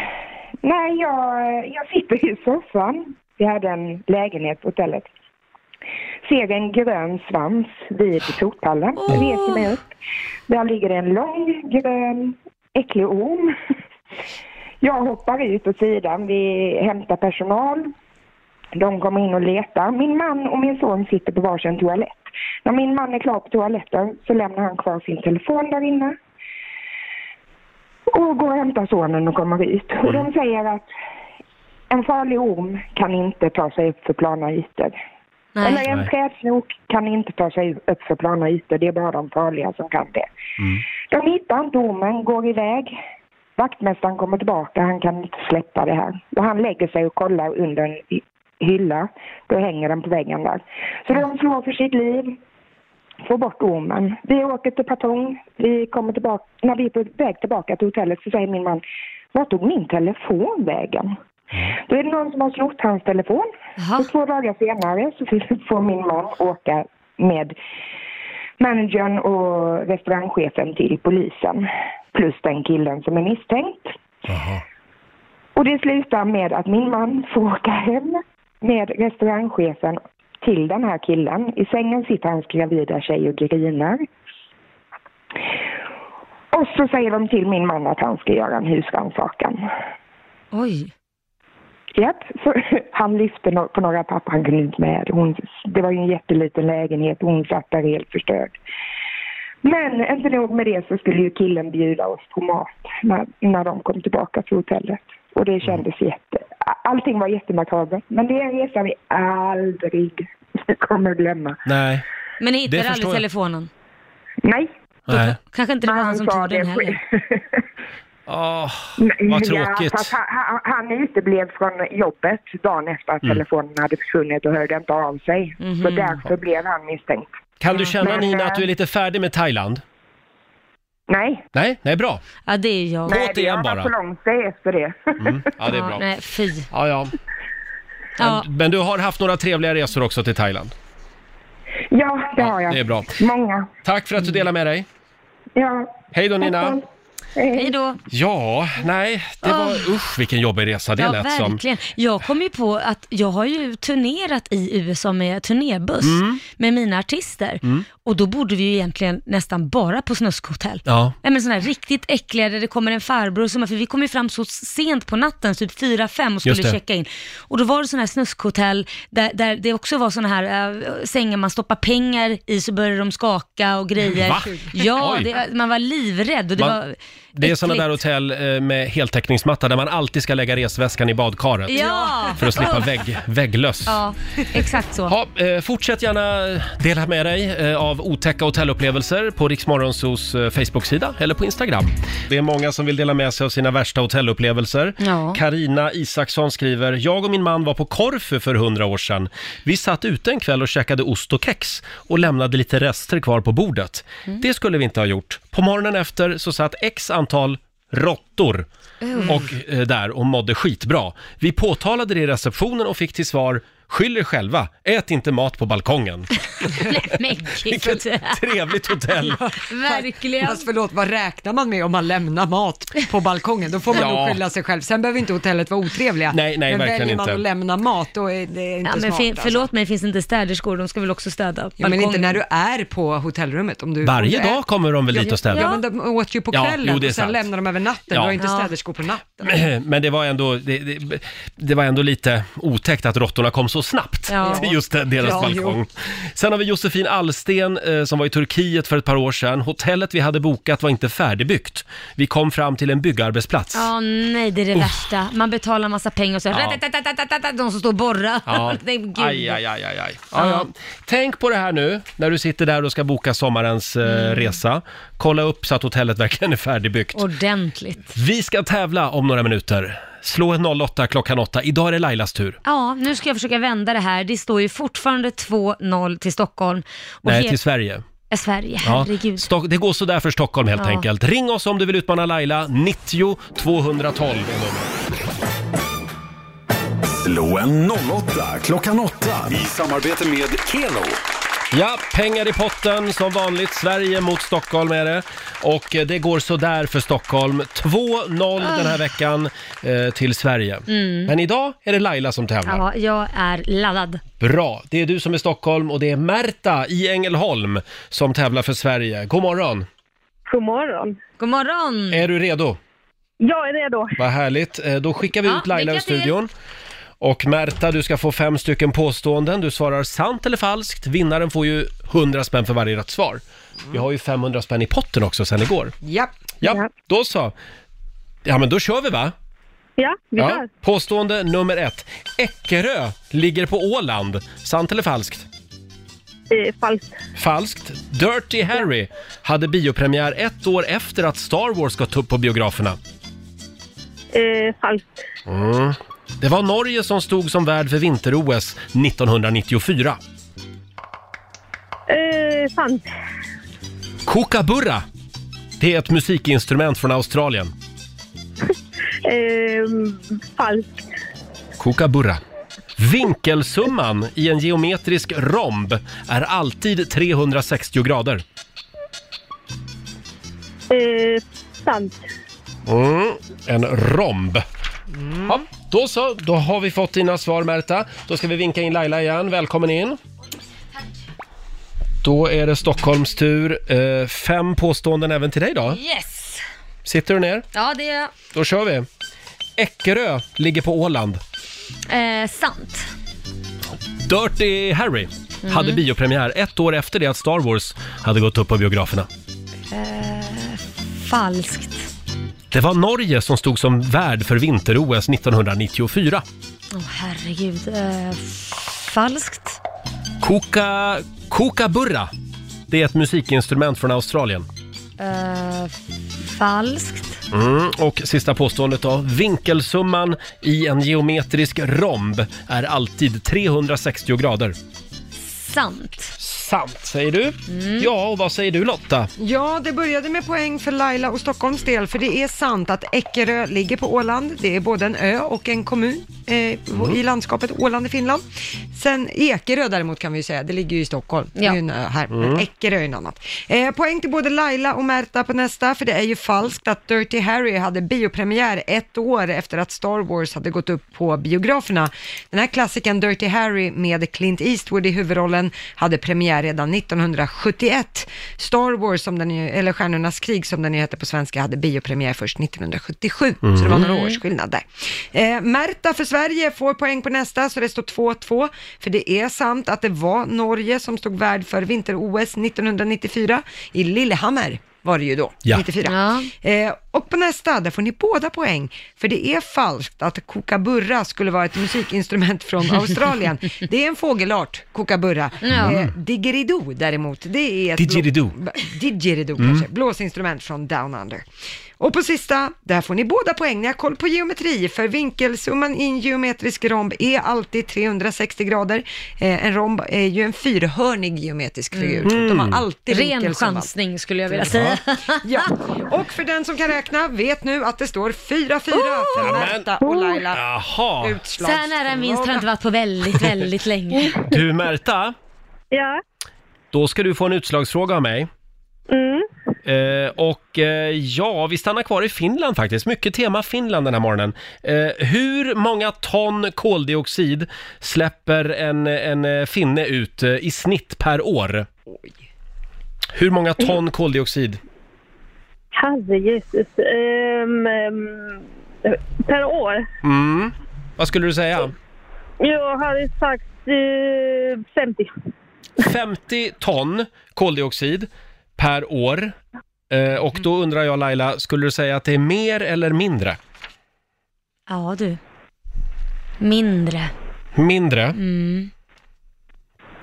P: nej, jag, jag sitter i soffan. Vi hade en lägenhet på hotellet. Ser en grön svans vid portpallen. Reser mig upp. Där ligger en lång, grön, äcklig orm. Jag hoppar ut åt sidan. Vi hämtar personal. De kommer in och letar. Min man och min son sitter på varsin toalett. När min man är klar på toaletten så lämnar han kvar sin telefon där inne. Och går och hämtar sonen och kommer ut. Och de säger att en farlig orm kan inte ta sig upp för plana ytor.
B: Nej.
P: Eller en
B: Nej.
P: trädsnok kan inte ta sig upp för plana ytor. Det är bara de farliga som kan det. De hittar inte ormen, går iväg. Vaktmästaren kommer tillbaka, han kan inte släppa det här. Och han lägger sig och kollar under en hy- hylla. Då hänger den på väggen där. Så de slår för sitt liv, får bort ormen. Vi åker till Patong. Vi kommer tillbaka, när vi är på väg tillbaka till hotellet så säger min man, vart tog min telefon vägen? Då är det någon som har snott hans telefon. Så två dagar senare så får min man åka med managern och restaurangchefen till polisen. Plus den killen som är misstänkt. Och det slutar med att min man får åka hem med restaurangchefen till den här killen. I sängen sitter hans gravida tjej och grinar. Och så säger de till min man att han ska göra en husrannsakan.
B: Oj.
P: Japp, så (laughs) han lyfte no- på några papper, han kunde inte med. Hon, det var ju en jätteliten lägenhet och hon satt där helt förstörd. Men inte nog med det så skulle ju killen bjuda oss på mat när, när de kom tillbaka till hotellet. Och
B: Mm.
P: det kändes jätte... Allting var jättemakabert. Men det är en resa vi aldrig (laughs) kommer glömma.
A: Nej.
B: Men ni
P: Det
B: hittade aldrig
P: förstår jag.
B: telefonen?
P: Nej.
A: Nej.
B: Kanske inte det var han som
P: sa
B: tog den
P: det
B: heller?
A: Åh, vad
P: Ja,
A: tråkigt.
P: fast han, han, han uteblev från jobbet dagen efter att
A: Mm.
P: telefonen hade försvunnit och hörde inte av sig. Så
B: Mhm.
P: därför blev han misstänkt.
A: Kan du känna
P: Men,
A: Nina
P: eh,
A: att du är lite färdig med Thailand?
P: Nej.
A: Nej, nej bra.
B: Ja, det är jag.
A: Gråt igen
P: Jag var
A: bara.
P: på långt steg efter det.
A: Mm, ja, det är bra.
B: nej, fy.
A: Ja, ja.
B: Ja.
A: Men, men du har haft några trevliga resor också till Thailand.
P: Ja, det har jag.
A: Det är bra.
P: Många.
A: Tack för att du delade med dig.
P: Ja.
A: Hej då Nina.
P: Tack Hej.
B: Hej då.
A: Ja, nej, det var...
B: Åh.
A: Usch, vilken jobbig resa det
B: Ah. Ja,
A: lät som.
B: verkligen. Jag kom ju på att jag har ju turnerat i USA med turnébuss
A: Mm.
B: med mina artister.
A: Mm.
B: Och då bodde vi ju egentligen nästan bara på snuskhotell.
A: Ja.
B: Nej men sådana här riktigt äckliga där det kommer en farbror som, för vi kom ju fram så sent på natten, typ 4-5 och
O: Just
B: skulle
O: det.
B: checka in. Och då var det sådana här snuskhotell där, där det också var sådana här äh, sängar man stoppar pengar i så börjar de skaka och grejer.
A: Va?
B: Ja,
A: Oj.
B: det, man var livrädd och det
A: Man-
B: var
A: Det är sådana
B: äckligt.
A: där hotell eh, med heltäckningsmatta där man alltid ska lägga resväskan i badkaret.
B: Ja.
A: För att slippa
B: Usch.
A: vägg, vägglöss.
B: Ja, exakt så. (laughs)
A: Ja, eh, fortsätt gärna dela med dig eh, av otäcka hotellupplevelser på Riksmorgonsos eh, Facebook-sida eller på Instagram. Det är många som vill dela med sig av sina värsta hotellupplevelser.
B: Ja.
A: Karina Isaksson skriver, jag och min man var på Korfu för hundra år sedan. Vi satt ute en kväll och käkade ost och kex och lämnade lite rester kvar på bordet. Det skulle vi inte ha gjort. På morgonen efter så satt x antal råttor
O: Mm.
A: och eh, där och mådde skitbra. Vi påtalade det i receptionen och fick till svar Skyll er själva, ät inte mat på
C: (laughs)
A: balkongen.
B: Men gud.
A: Trevligt hotell.
B: Verkligen.
C: Fast förlåt, vad räknar man med om man lämnar mat på balkongen? Då får man
A: Ja.
C: nog skylla sig själv. Sen behöver inte hotellet vara otrevliga.
A: Nej, nej,
C: men
A: verkligen
C: väljer man
A: inte.
C: att lämna mat, då är det inte
B: Ja, men
C: smart.
B: fin-
C: alltså.
B: förlåt mig, finns det inte städerskor? De ska väl också städa
C: Ja, men inte
B: balkongen?
C: när du är på hotellrummet. Om du,
A: Varje
C: om du är-
A: dag kommer de väl dit och städar?
C: Ja, men de åt ju på
A: Ja,
C: kvällen
A: jo, det är
C: och sen
A: sant.
C: lämnar de över natten.
A: Ja.
C: Du har inte
A: Ja.
C: städerskor på natten.
A: (clears throat) Men det var ändå, det, det, det var ändå lite otäckt att råttorna kom så snabbt
C: Ja.
A: till just den- deras
C: Ja,
A: balkong. Sen har vi Josefin Allsten eh, som var i Turkiet för ett par år sedan. Hotellet vi hade bokat var inte färdigbyggt. Vi kom fram till en byggarbetsplats.
B: Ja, nej, det är det
A: Uff.
B: värsta. Man betalar massa pengar och så
A: Ja.
B: ja. de som står och borrar. (laughs)
A: Ja.
B: Nej, gud.
A: Aj, aj, aj, aj, aj. Ja, ja. Tänk på det här nu när du sitter där och ska boka sommarens eh,
B: Mm.
A: resa. Kolla upp så att hotellet verkligen är färdigbyggt.
B: Ordentligt.
A: Vi ska tävla om några minuter. Slå en 08 klockan 8. Idag är det Lailas tur.
B: Ja, nu ska jag försöka vända det här. Det står ju fortfarande 2-0 till Stockholm. Och
A: Nej,
B: he-
A: till Sverige.
B: Ja, Sverige,
A: Ja,
B: herregud.
A: Stock- det går sådär för Stockholm helt
B: Ja.
A: enkelt. Ring oss om du vill utmana Laila. 90 212 är numret.
E: Slå en 08 klockan 8 i samarbete med Keno.
A: Ja, pengar i potten som vanligt. Sverige mot Stockholm är det. Och eh, det går sådär för Stockholm. 2-0 den här veckan eh, till Sverige.
B: Mm.
A: Men idag är det Laila som tävlar.
B: Ja, jag är laddad.
A: Bra, det är du som är Stockholm och det är Märta i Ängelholm som tävlar för Sverige. God morgon!
B: God morgon. God morgon.
A: Är du redo?
B: Jag är redo.
A: Vad härligt. Eh, Då skickar vi
B: Ja,
A: ut Laila ur
B: lycka till.
A: studion. Och Märta, du ska få fem stycken påståenden. Du svarar sant eller falskt. Vinnaren får ju 100 spänn för varje rätt svar. Vi har ju 500 spänn i potten också sen igår.
C: Ja.
A: Ja, då så. Ja, men då kör vi va?
K: Ja, vi
A: Ja.
K: kör.
A: Påstående nummer ett. Eckerö ligger på Åland. Sant eller falskt?
K: Eh, falskt.
A: Falskt. Dirty Harry hade biopremiär ett år efter att Star Wars gått upp på biograferna.
K: Eh, falskt.
A: Mm. Det var Norge som stod som värd för vinter-OS 1994.
K: Eh, sant. (laughs)
A: Kookaburra, det är ett musikinstrument från Australien.
K: Eh, falskt.
A: Kookaburra. Vinkelsumman i en geometrisk romb är alltid 360 grader.
K: Eh, sant.
A: Mm, en romb. Ja, då så, då har vi fått dina svar Märta. Då ska vi vinka in Laila igen. Välkommen in. Då är det Stockholms tur. Eh, fem påståenden även till dig då.
B: Yes!
A: Sitter du ner?
B: Ja, det är
A: Då kör vi. Eckerö ligger på Åland.
B: eh, sant.
A: Dirty Harry
B: Mm.
A: hade biopremiär ett år efter det att Star Wars hade gått upp på biograferna.
B: Eh, falskt.
A: Det var Norge som stod som värd för vinter-OS 1994.
B: Åh herregud. Eh, falskt.
A: Koka... Kokaburra. Det är ett musikinstrument från Australien.
B: Eh, falskt.
A: Mm, och sista påståendet då. Vinkelsumman i en geometrisk romb är alltid 360 grader.
B: Sant.
A: Sant, säger du.
C: Mm.
A: Ja, och vad säger du Lotta?
C: Ja, det började med poäng för Laila och Stockholms del, för det är sant att Eckerö ligger på Åland. Det är både en ö och en kommun eh, i landskapet Åland i Finland. Sen Ekerö däremot kan vi ju säga, det ligger ju i Stockholm. Det är ju en ö här,
O: Mm.
C: men Eckerö är något annat. Eh, poäng till både Laila och Märta på nästa, för det är ju falskt att Dirty Harry hade biopremiär ett år efter att Star Wars hade gått upp på biograferna. Den här klassikern Dirty Harry med Clint Eastwood i huvudrollen hade premiär redan 1971. Star Wars, som den, ju- eller Stjärnornas krig som den ju hette på svenska, hade biopremiär först 1977, så det var några
O: Mm.
C: års skillnad där. Eh, Märta för Sverige får poäng på nästa, så det står 2-2. För det är sant att det var Norge som stod värd för vinter-OS 1994 i Lillehammer var det ju då,
O: Ja.
C: 94. Eh, och på nästa, där får ni båda poäng, för det är falskt att kokaburra skulle vara ett musikinstrument från Australien. Det är en fågelart, kokaburra.
O: Ja.
C: Eh, didgeridoo däremot, det är ett...
A: Didgeridoo.
C: blå- Didgeridoo
A: Mm.
C: kanske, blåsinstrument från Down Under. Och på sista, där får ni båda poäng, ni har koll på geometri, för vinkelsumman i en geometrisk romb är alltid 360 grader. Eh, en romb är ju en fyrhörnig geometrisk figur,
B: Mm.
C: de har alltid
B: Ren
C: vinkelsumman.
B: chansning skulle jag vilja säga.
C: (laughs) Ja, och för den som kan räkna vet nu att det står 4-4 för Märta och Laila.
A: Jaha.
B: Oh! Så här nära en vinst har jag inte varit
A: (laughs)
B: på väldigt, väldigt länge.
A: Du Märta,
K: Ja.
A: då ska du få en utslagsfråga av mig.
K: Mm.
A: Eh, och eh, ja, vi stannar kvar i Finland faktiskt. Mycket tema Finland den här morgonen. Eh, hur många ton koldioxid släpper en, en eh, finne ut eh, i snitt per år? Hur många ton koldioxid?
K: Herre Jesus. Ehm, ehm, per år?
A: Mm. Vad skulle du säga?
K: Jag hade sagt eh, 50.
A: 50 ton koldioxid per år. Eh, och då undrar jag Laila, skulle du säga att det är mer eller mindre?
B: Ja du. Mindre.
A: Mindre?
B: Mm.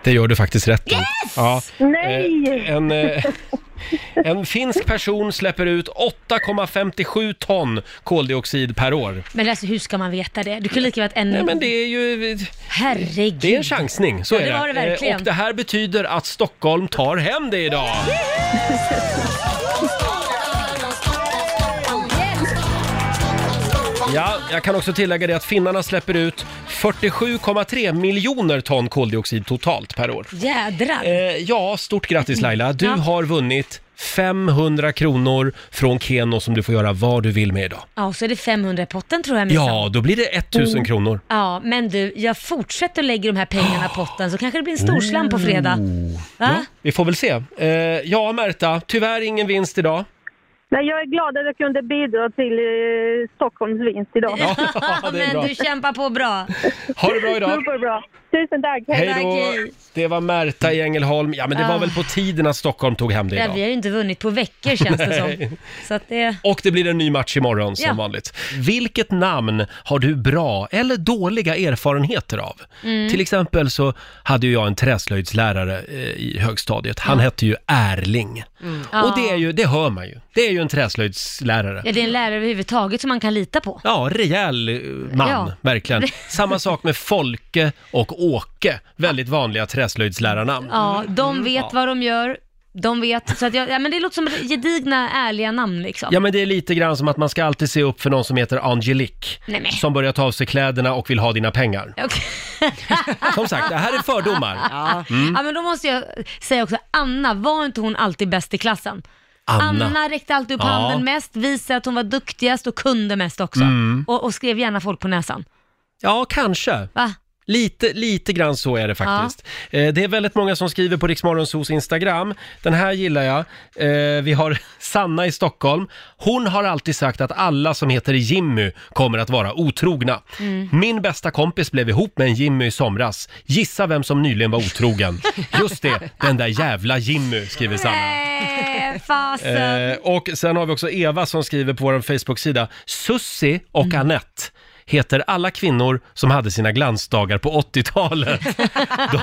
A: Det gör du faktiskt rätt i. Ja.
K: Nej!
A: Eh, en, eh, (laughs) en finsk person släpper ut 8,57 ton koldioxid per år.
B: Men alltså hur ska man veta det? Du kan lika väl att en...
A: Nej, men det är ju...
B: Herregud.
A: Det är en chansning, så
B: ja,
A: är
B: det. var det
A: Eh,
B: verkligen.
A: Och det här betyder att Stockholm tar hem det idag. Ja, jag kan också tillägga det att finnarna släpper ut 47,3 miljoner ton koldioxid totalt per år. Eh,
B: Jädrar.
A: ja, Stort grattis Laila, du
B: Ja.
A: har vunnit 500 kronor från Keno som du får göra vad du vill med idag.
B: Ja, och så är det 500 i potten tror jag minsann.
A: Ja, då blir det 1000
B: Mm.
A: kronor.
B: Ja, men du, jag fortsätter att lägga de
A: (gasps)
B: här pengarna i potten så kanske det blir en storslam på fredag.
A: Oh.
B: Va?
A: Vi får väl se. Eh, ja, Märta, tyvärr ingen vinst idag.
K: Nej, jag är glad att jag kunde bidra till eh, Stockholms vinst idag.
A: Ja, (laughs) det är
B: men
A: bra.
B: du kämpar på bra.
A: Ha det bra idag.
K: Superbra. Tusen tack.
A: Hej då! Det var Märta i Ängelholm. Ja, men det var
B: Ah.
A: väl på tiden att Stockholm tog hem det
B: Ja,
A: idag.
B: vi har ju inte vunnit på veckor känns det
A: Nej.
B: som. Så att det...
A: (laughs) Och det blir en ny match imorgon som
B: Ja.
A: vanligt. Vilket namn har du bra eller dåliga erfarenheter av?
B: Mm.
A: Till exempel så hade ju jag en träslöjdslärare eh, i högstadiet. Han hette ju Erling.
B: Ja.
A: Mm. Och det, är ju, det hör man ju. Det är ju en träslöjdslärare.
B: Ah. Ja, det är en lärare överhuvudtaget som man kan lita på.
A: Ja, rejäl eh, man,
B: Ja. (laughs)
A: verkligen. Samma sak med Folke och Åke. Väldigt vanliga träslöjdslärarnamn.
B: Ja, de vet vad de gör. De vet, så att jag, ja, men det låter som gedigna, ärliga namn liksom.
A: Ja, men det är lite grann som att man ska alltid se upp för någon som heter Angelique.
B: Nej, men.
A: Som börjar ta av sig kläderna och vill ha dina
B: (laughs)
A: pengar.
B: Okej.
A: Som sagt, det här är fördomar.
B: (laughs) Ja.
A: Mm.
B: ja, men då måste jag säga också, Anna, var inte hon alltid bäst i klassen?
A: Anna.
B: räckte alltid upp
A: Ja.
B: handen mest, visade att hon var duktigast och kunde mest också.
A: Mm.
B: Och, och skrev gärna folk på näsan.
A: Ja, kanske.
B: Va?
A: Lite, lite grann så är det faktiskt. Eh, Det är väldigt många som skriver på Riksmorgonsos Instagram. Den här gillar jag. Eh, Vi har (laughs) Sanna i Stockholm. Hon har alltid sagt att alla som heter Jimmy kommer att vara otrogna.
F: Mm.
A: Min bästa kompis blev ihop med en Jimmy i somras. Gissa vem som nyligen var otrogen. Just det, den där jävla Jimmy, skriver Sanna.
B: Nej, fasen.
A: Eh, och sen har vi också Eva som skriver på vår Facebook-sida. Sussi och
B: Mm.
A: Annette heter alla kvinnor som hade sina glansdagar på 80-talet.
B: (laughs)
A: De,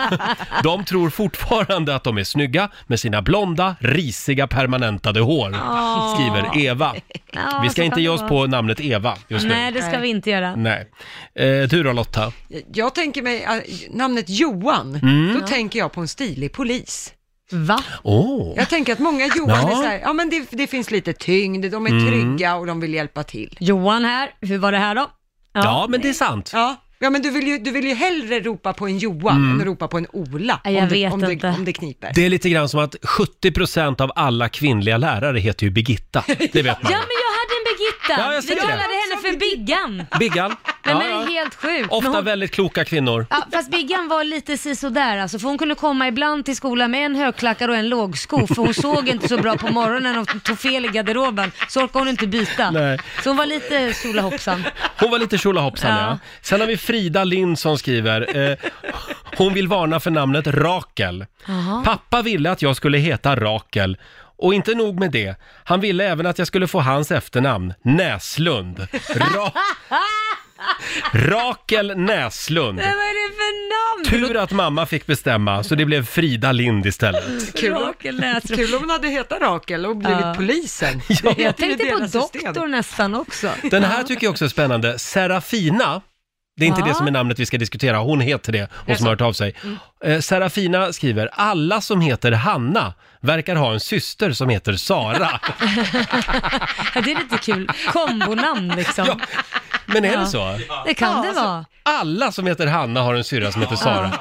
A: de tror fortfarande att de är snygga med sina blonda, risiga, permanentade hår,
B: Åh.
A: skriver Eva.
B: Ja,
A: Vi
B: så
A: ska inte
B: kan
A: ge
B: det
A: oss
B: vara.
A: på namnet Eva just nu.
B: Nej, det ska vi inte göra.
A: Nej. Eh, du då Lotta?
C: Jag tänker mig eh, namnet Johan,
A: Mm.
C: då
A: Ja.
C: tänker jag på en stilig polis.
B: Va?
A: Åh!
C: Jag tänker att många Johan
A: Ja.
C: är så här, ja men det, det finns lite tyngd, de är
A: Mm.
C: trygga och de vill hjälpa till.
B: Johan här, hur var det här då? Ja,
A: men det är sant.
C: Ja, ja men du vill, ju, du vill ju hellre ropa på en Johan
A: Mm.
C: än ropa på en Ola.
B: Nej, jag
C: om,
B: vet
C: det, om, det,
B: inte.
C: om det kniper.
A: Det är lite grann som att 70% av alla kvinnliga lärare heter ju Birgitta. Det vet
B: Ja,
A: man.
B: men jag hade en Birgitta.
A: Ja, jag
B: vi
A: ser det.
B: kallade henne för Biggan.
A: Biggan.
B: Men
A: Ja,
B: det är
A: ja.
B: helt sjukt. Men
A: Ofta
B: hon-
A: väldigt kloka kvinnor.
B: Ja, fast Biggan var lite sisådär alltså, för hon kunde komma ibland till skolan med en högklackad och en lågsko, för hon såg inte så bra på morgonen och tog fel i garderoben, så orkade hon inte byta.
A: Nej.
B: Så hon var lite solahoppsan.
A: Hon var lite tjolahoppsan ja.
B: Ja.
A: Sen har vi Frida Lind som skriver, eh, hon vill varna för namnet Rakel.
F: Jaha.
A: Pappa ville att jag skulle heta Rakel. Och inte nog med det, han ville även att jag skulle få hans efternamn, Näslund. Ra- Rakel Näslund.
B: Men vad är det för namn?
A: Tur att mamma fick bestämma, så det blev Frida Lind istället.
C: Kul, om-
B: Rakel Näsrum.
C: kul om hon hade hetat Rakel och blivit
B: Ja.
C: polisen. Det
B: Jag
C: heter ju
B: tänkte på
C: deras system.
B: doktor nästan också.
A: Den här tycker jag också är spännande. Serafina, det är inte
B: Ja.
A: det som är namnet vi ska diskutera, hon heter det, hon som har hört av sig.
B: Mm.
A: Eh, Serafina skriver, alla som heter Hanna verkar ha en syster som heter
B: (laughs)
A: Sara.
B: Ja, det är lite kul. Kombonamn liksom. Ja,
A: Men är det så?
B: Det kan det vara.
A: Alla som heter Hanna har en syrra som heter Sara.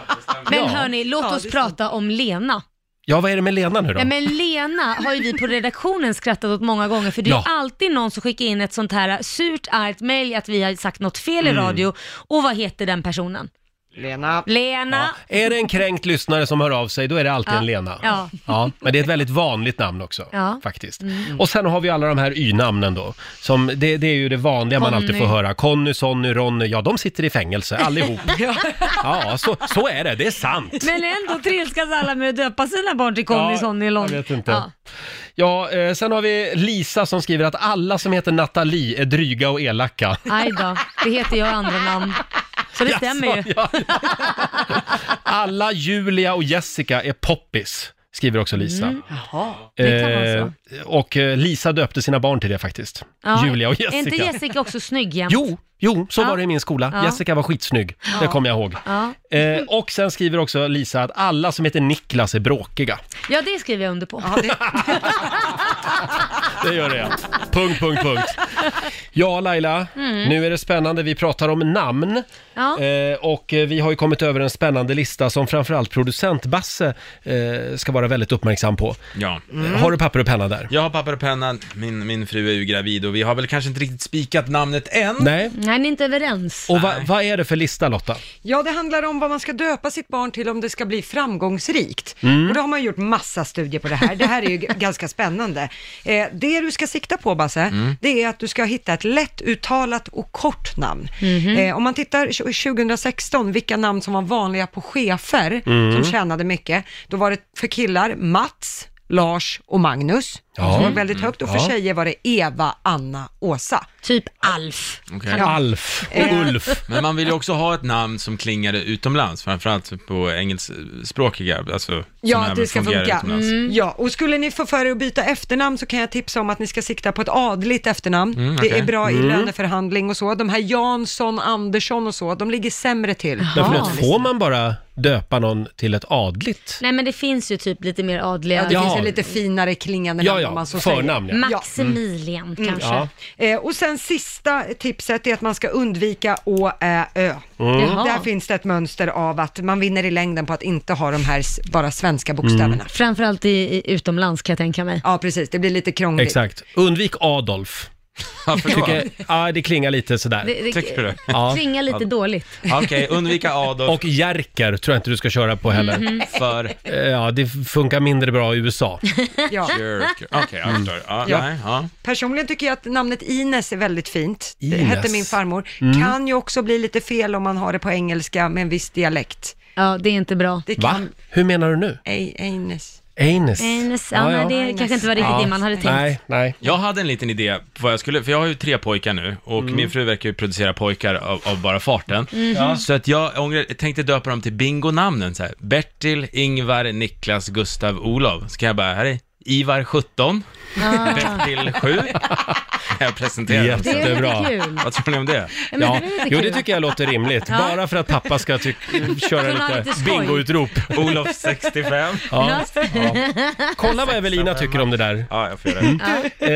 B: Men hörni, låt oss prata om Lena.
A: Ja, vad är det med Lena nu då?
B: Nej, men Lena har ju vi på redaktionen skrattat åt många gånger för det
A: Ja.
B: är alltid någon som skickar in ett sånt här surt argt mejl att vi har sagt något fel i
A: Mm.
B: radio och vad heter den personen?
C: Lena.
B: Lena.
A: Är det en kränkt lyssnare som hör av sig, då är det alltid
B: Ja.
A: en Lena.
B: Ja.
A: ja. Men det är ett väldigt vanligt namn också,
B: Ja.
A: faktiskt.
B: Mm.
A: Och sen har vi alla de här y-namnen då. Som det, det är ju det vanliga man
B: Conny.
A: alltid får höra. Conny, Sonny, Ronny. Ja, de sitter i fängelse allihop.
B: (laughs) Ja.
A: ja, så, så är det. Det är sant.
B: Men ändå trilskas alla med att döpa sina barn till Conny,
A: Ja,
B: Sonny, Lon.
A: jag vet inte.
B: Ja.
A: Ja, eh, sen har vi Lisa som skriver att alla som heter Nathalie är dryga och elaka.
B: (laughs) Aj då, det heter jag i andra namn. Så det
A: Jaså,
B: stämmer ju.
A: ja, Alla Julia och Jessica är poppis, skriver också Lisa.
B: Mm. det kan vara
A: Eh, och eh, Lisa döpte sina barn till det faktiskt.
B: Ja.
A: Julia och Jessica.
B: Är inte Jessica också snygg jämt?
A: Jo, jo, så
B: Ja.
A: var det i min skola.
B: Ja.
A: Jessica var skitsnygg, det
B: Ja.
A: kommer jag ihåg.
B: Ja.
A: Eh, och sen skriver också Lisa att alla som heter Niklas är bråkiga.
B: ja, det skriver jag under på.
A: (laughs) Det gör det. punkt, punkt, punkt. Ja, Laila,
B: Mm.
A: nu är det spännande. Vi pratar om namn.
B: Ja.
A: Eh, och eh, vi har ju kommit över en spännande lista som framförallt producent Basse eh, ska vara väldigt uppmärksam på.
G: Ja.
A: Eh,
B: Mm.
A: Har du papper och penna där?
G: Jag har papper och penna, min, min fru är ju gravid och vi har väl kanske inte riktigt spikat namnet än.
A: Nej.
B: Nej, ni är inte överens.
A: Och va, vad är det för lista Lotta?
C: Ja, det handlar om vad man ska döpa sitt barn till om det ska bli framgångsrikt.
A: Mm.
C: Och då har man gjort massa studier på det här. Det här är ju g- (laughs) ganska spännande. Eh, det du ska sikta på, Basse,
O: Mm.
C: det är att du ska hitta ett lättuttalat och kort namn.
O: Mhm.
C: Eh, om man tittar tj- 2016, vilka namn som var vanliga på chefer
O: Mm.
C: som tjänade mycket, då var det för killar Mats, Lars och Magnus,
A: Ja. Mm.
C: som var väldigt högt, och för
A: Ja.
C: tjejer var det Eva, Anna, Åsa.
B: Typ Alf.
G: Okej.
C: Ja.
A: Alf,
C: Eh.
A: Ulf.
C: (laughs)
G: Men man vill ju också ha ett namn som klingar utomlands, framförallt på engelskspråkiga, alltså som
C: Ja,
G: även
C: det ska
G: fungerar
C: funka. Mm.
G: utomlands.
C: Ja, och skulle ni få för er att byta efternamn så kan jag tipsa om att ni ska sikta på ett adligt efternamn.
G: Mm,
C: Det
G: okej.
C: är bra i
G: Mm.
C: löneförhandling och så. De här Jansson, Andersson och så, de ligger sämre till.
A: Därför att får man bara döpa någon till ett adligt.
B: Nej men det finns ju typ lite mer adliga. Mm.
A: Ja, det finns ju lite
C: finare klingande
A: Ja, namn, ja, om man så säger. förnamn, ja.
B: Maximilian
C: Mm.
B: kanske.
A: Ja.
C: Eh, och sen sista tipset är att man ska undvika å, ä, ö.
A: Mm. Jaha.
C: Där finns det ett mönster av att man vinner i längden på att inte ha de här s- bara svenska bokstäverna.
A: Mm.
B: Framförallt i, i, utomlands kan jag tänka mig.
C: Ja, precis. Det blir lite krångligt.
A: Exakt. Undvik Adolf.
G: Varför då?
A: Tycker, ja, det klingar lite sådär.
B: Det- det- Tycker (laughs) du? Klingar lite dåligt.
G: Okej,
B: (laughs)
G: undvika Adolf.
A: Och Jerker tror jag inte du ska köra på heller. Eh,
B: Mhm.
G: (laughs) För?
A: Ja, det funkar mindre bra i USA. Mm.
C: Ja.
G: Okej, jag förstår. Ja,
C: Ja.
G: nej, ja.
C: Personligen tycker jag att namnet Ines är väldigt fint. Det
G: Ines.
C: hette min farmor.
G: Mm.
C: Kan ju också bli lite fel om man har det på engelska med en viss dialekt.
B: Ja, det är inte bra.
C: Det
A: Va?
C: kan...
A: Hur menar du nu?
C: Ej, Ines.
A: Eines.
B: Eines, ja, nej, det kanske inte var riktigt Mm, det man hade tänkt.
A: nej.
G: Jag hade en liten idé på vad jag skulle, för jag har ju tre pojkar nu och
A: Mm.
G: min fru verkar ju producera pojkar av, av bara farten.
A: Mhm. Ja.
G: Så att jag ångrar, jag tänkte döpa dem till bingonamnen så här. Bertil, Ingvar, Niklas, Gustav, Olof. Ska jag bara, här är Ivar 17,
B: Ah.
G: Bertil 7. Jag presenterar dem sen.
A: Jättebra. Det är kul.
G: Vad tror ni om det?
A: Ja, men det är lite Jo, det kul. tycker jag låter rimligt. Ja. Bara för att pappa ska (laughs) köra
G: Kunna ha
A: lite
G: lite skoj.
A: bingo-utrop.
B: (laughs)
G: Olof 65.
A: Ja. Kolla vad Evelina tycker om det där.
G: Ja, jag får göra
A: Mm. Eh,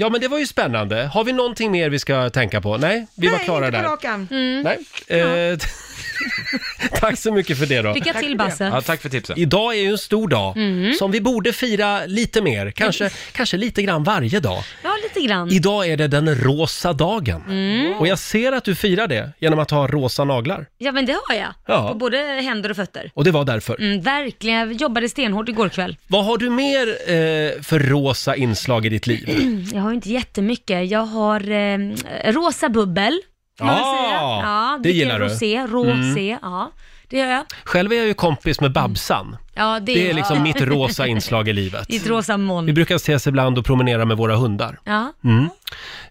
A: ja, men det var ju spännande. Har vi någonting mer vi ska tänka på? Nej, vi var klara där.
B: Mm.
A: Nej. Eh, (laughs) Tack så mycket för det då.
B: Lycka till, Basse.
G: Ja, tack för tipsen.
A: Idag är ju en stor dag
B: Mm.
A: som vi borde fira lite mer, kanske, kanske lite grann varje dag.
B: Ja, lite grann.
A: Idag är det den rosa dagen.
B: Mm.
A: Och jag ser att du firar det genom att ha rosa naglar.
B: Ja, men det har jag.
A: Ja.
B: På både händer och fötter.
A: Och det var därför.
B: Mm, verkligen, jag jobbade stenhårt igår kväll. (clears throat)
A: Vad har du mer eh, för rosa inslag i ditt liv?
B: Jag har inte jättemycket. Jag har eh, rosa bubbel, kan man
A: Ah,
B: väl säga.
A: det
B: dricker
A: gillar du. Mm.
B: Rosé, rosé, ja. Det gör jag.
A: Själv är jag ju kompis med Babsan.
B: Mm. Ja, det,
A: Det är
B: (laughs)
A: liksom mitt rosa inslag i livet.
B: Ditt rosa
A: (laughs)
B: moln.
A: Vi brukar ses ibland och promenera med våra hundar.
B: Ja.
A: Mm.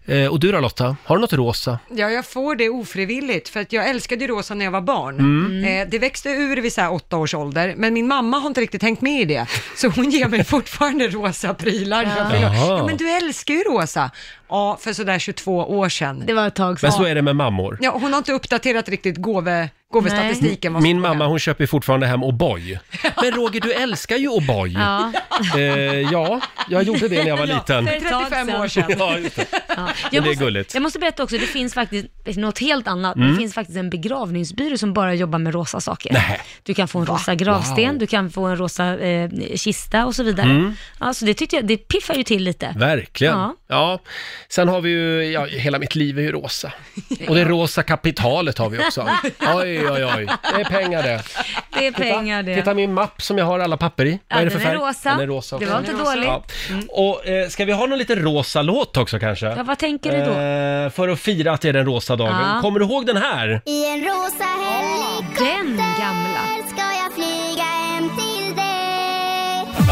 A: Eh, och du då Lotta, har du något rosa?
C: Ja, jag får det ofrivilligt för att jag älskade ju rosa när jag var barn.
A: Mm.
C: Eh, det växte ur vid så här åtta års ålder, men min mamma har inte riktigt tänkt med i det. Så hon ger mig fortfarande rosa prylar.
B: Ja.
C: Jag förlorar.
A: Jaha.
C: Ja, men du älskar ju rosa. Ja, för sådär 22 år sedan.
B: Det var ett tag
A: Men så är det med mammor.
C: Ja, hon har inte uppdaterat riktigt gåve, gåvestatistiken. vad som-
A: Min mamma hon köper ju fortfarande hem O'boy. Men Roger, du älskar ju O'boy.
B: Ja.
A: Eh, ja, jag gjorde det när jag var liten.
B: för ett tag
C: 35
B: sedan.
C: år sedan.
A: Ja, just det.
B: Jag
A: Men det är
B: måste-
A: gulligt.
B: Jag måste berätta också, det finns faktiskt något helt annat.
A: Mm.
B: Det finns faktiskt en begravningsbyrå som bara jobbar med rosa saker.
A: Nej.
B: Du kan få en rosa gravsten,
A: Wow.
B: du kan få en rosa eh, kista och så vidare.
A: Mm.
B: Ja, så det tyckte jag, det piffar ju till lite.
A: Verkligen. Ja.
B: Ja.
A: Sen har vi ju, ja, hela mitt liv är ju rosa. Och det rosa kapitalet har vi också. Oj, oj, oj. Det är pengar det.
B: Det är pengar det.
A: Titta min mapp som jag har alla papper i.
B: Ja,
A: Vad är det för
B: den
A: färg?
B: är rosa.
A: Den är rosa.
B: Det var
A: också.
B: inte dåligt.
A: Och eh, ska vi ha någon liten rosa låt också kanske?
B: Ja, vad tänker du då?
A: Eh, för att fira att det är den rosa dagen.
B: Ja.
A: Kommer du ihåg den här?
O: I en rosa helikopter
B: Den gamla.
O: ska jag flyga hem till dig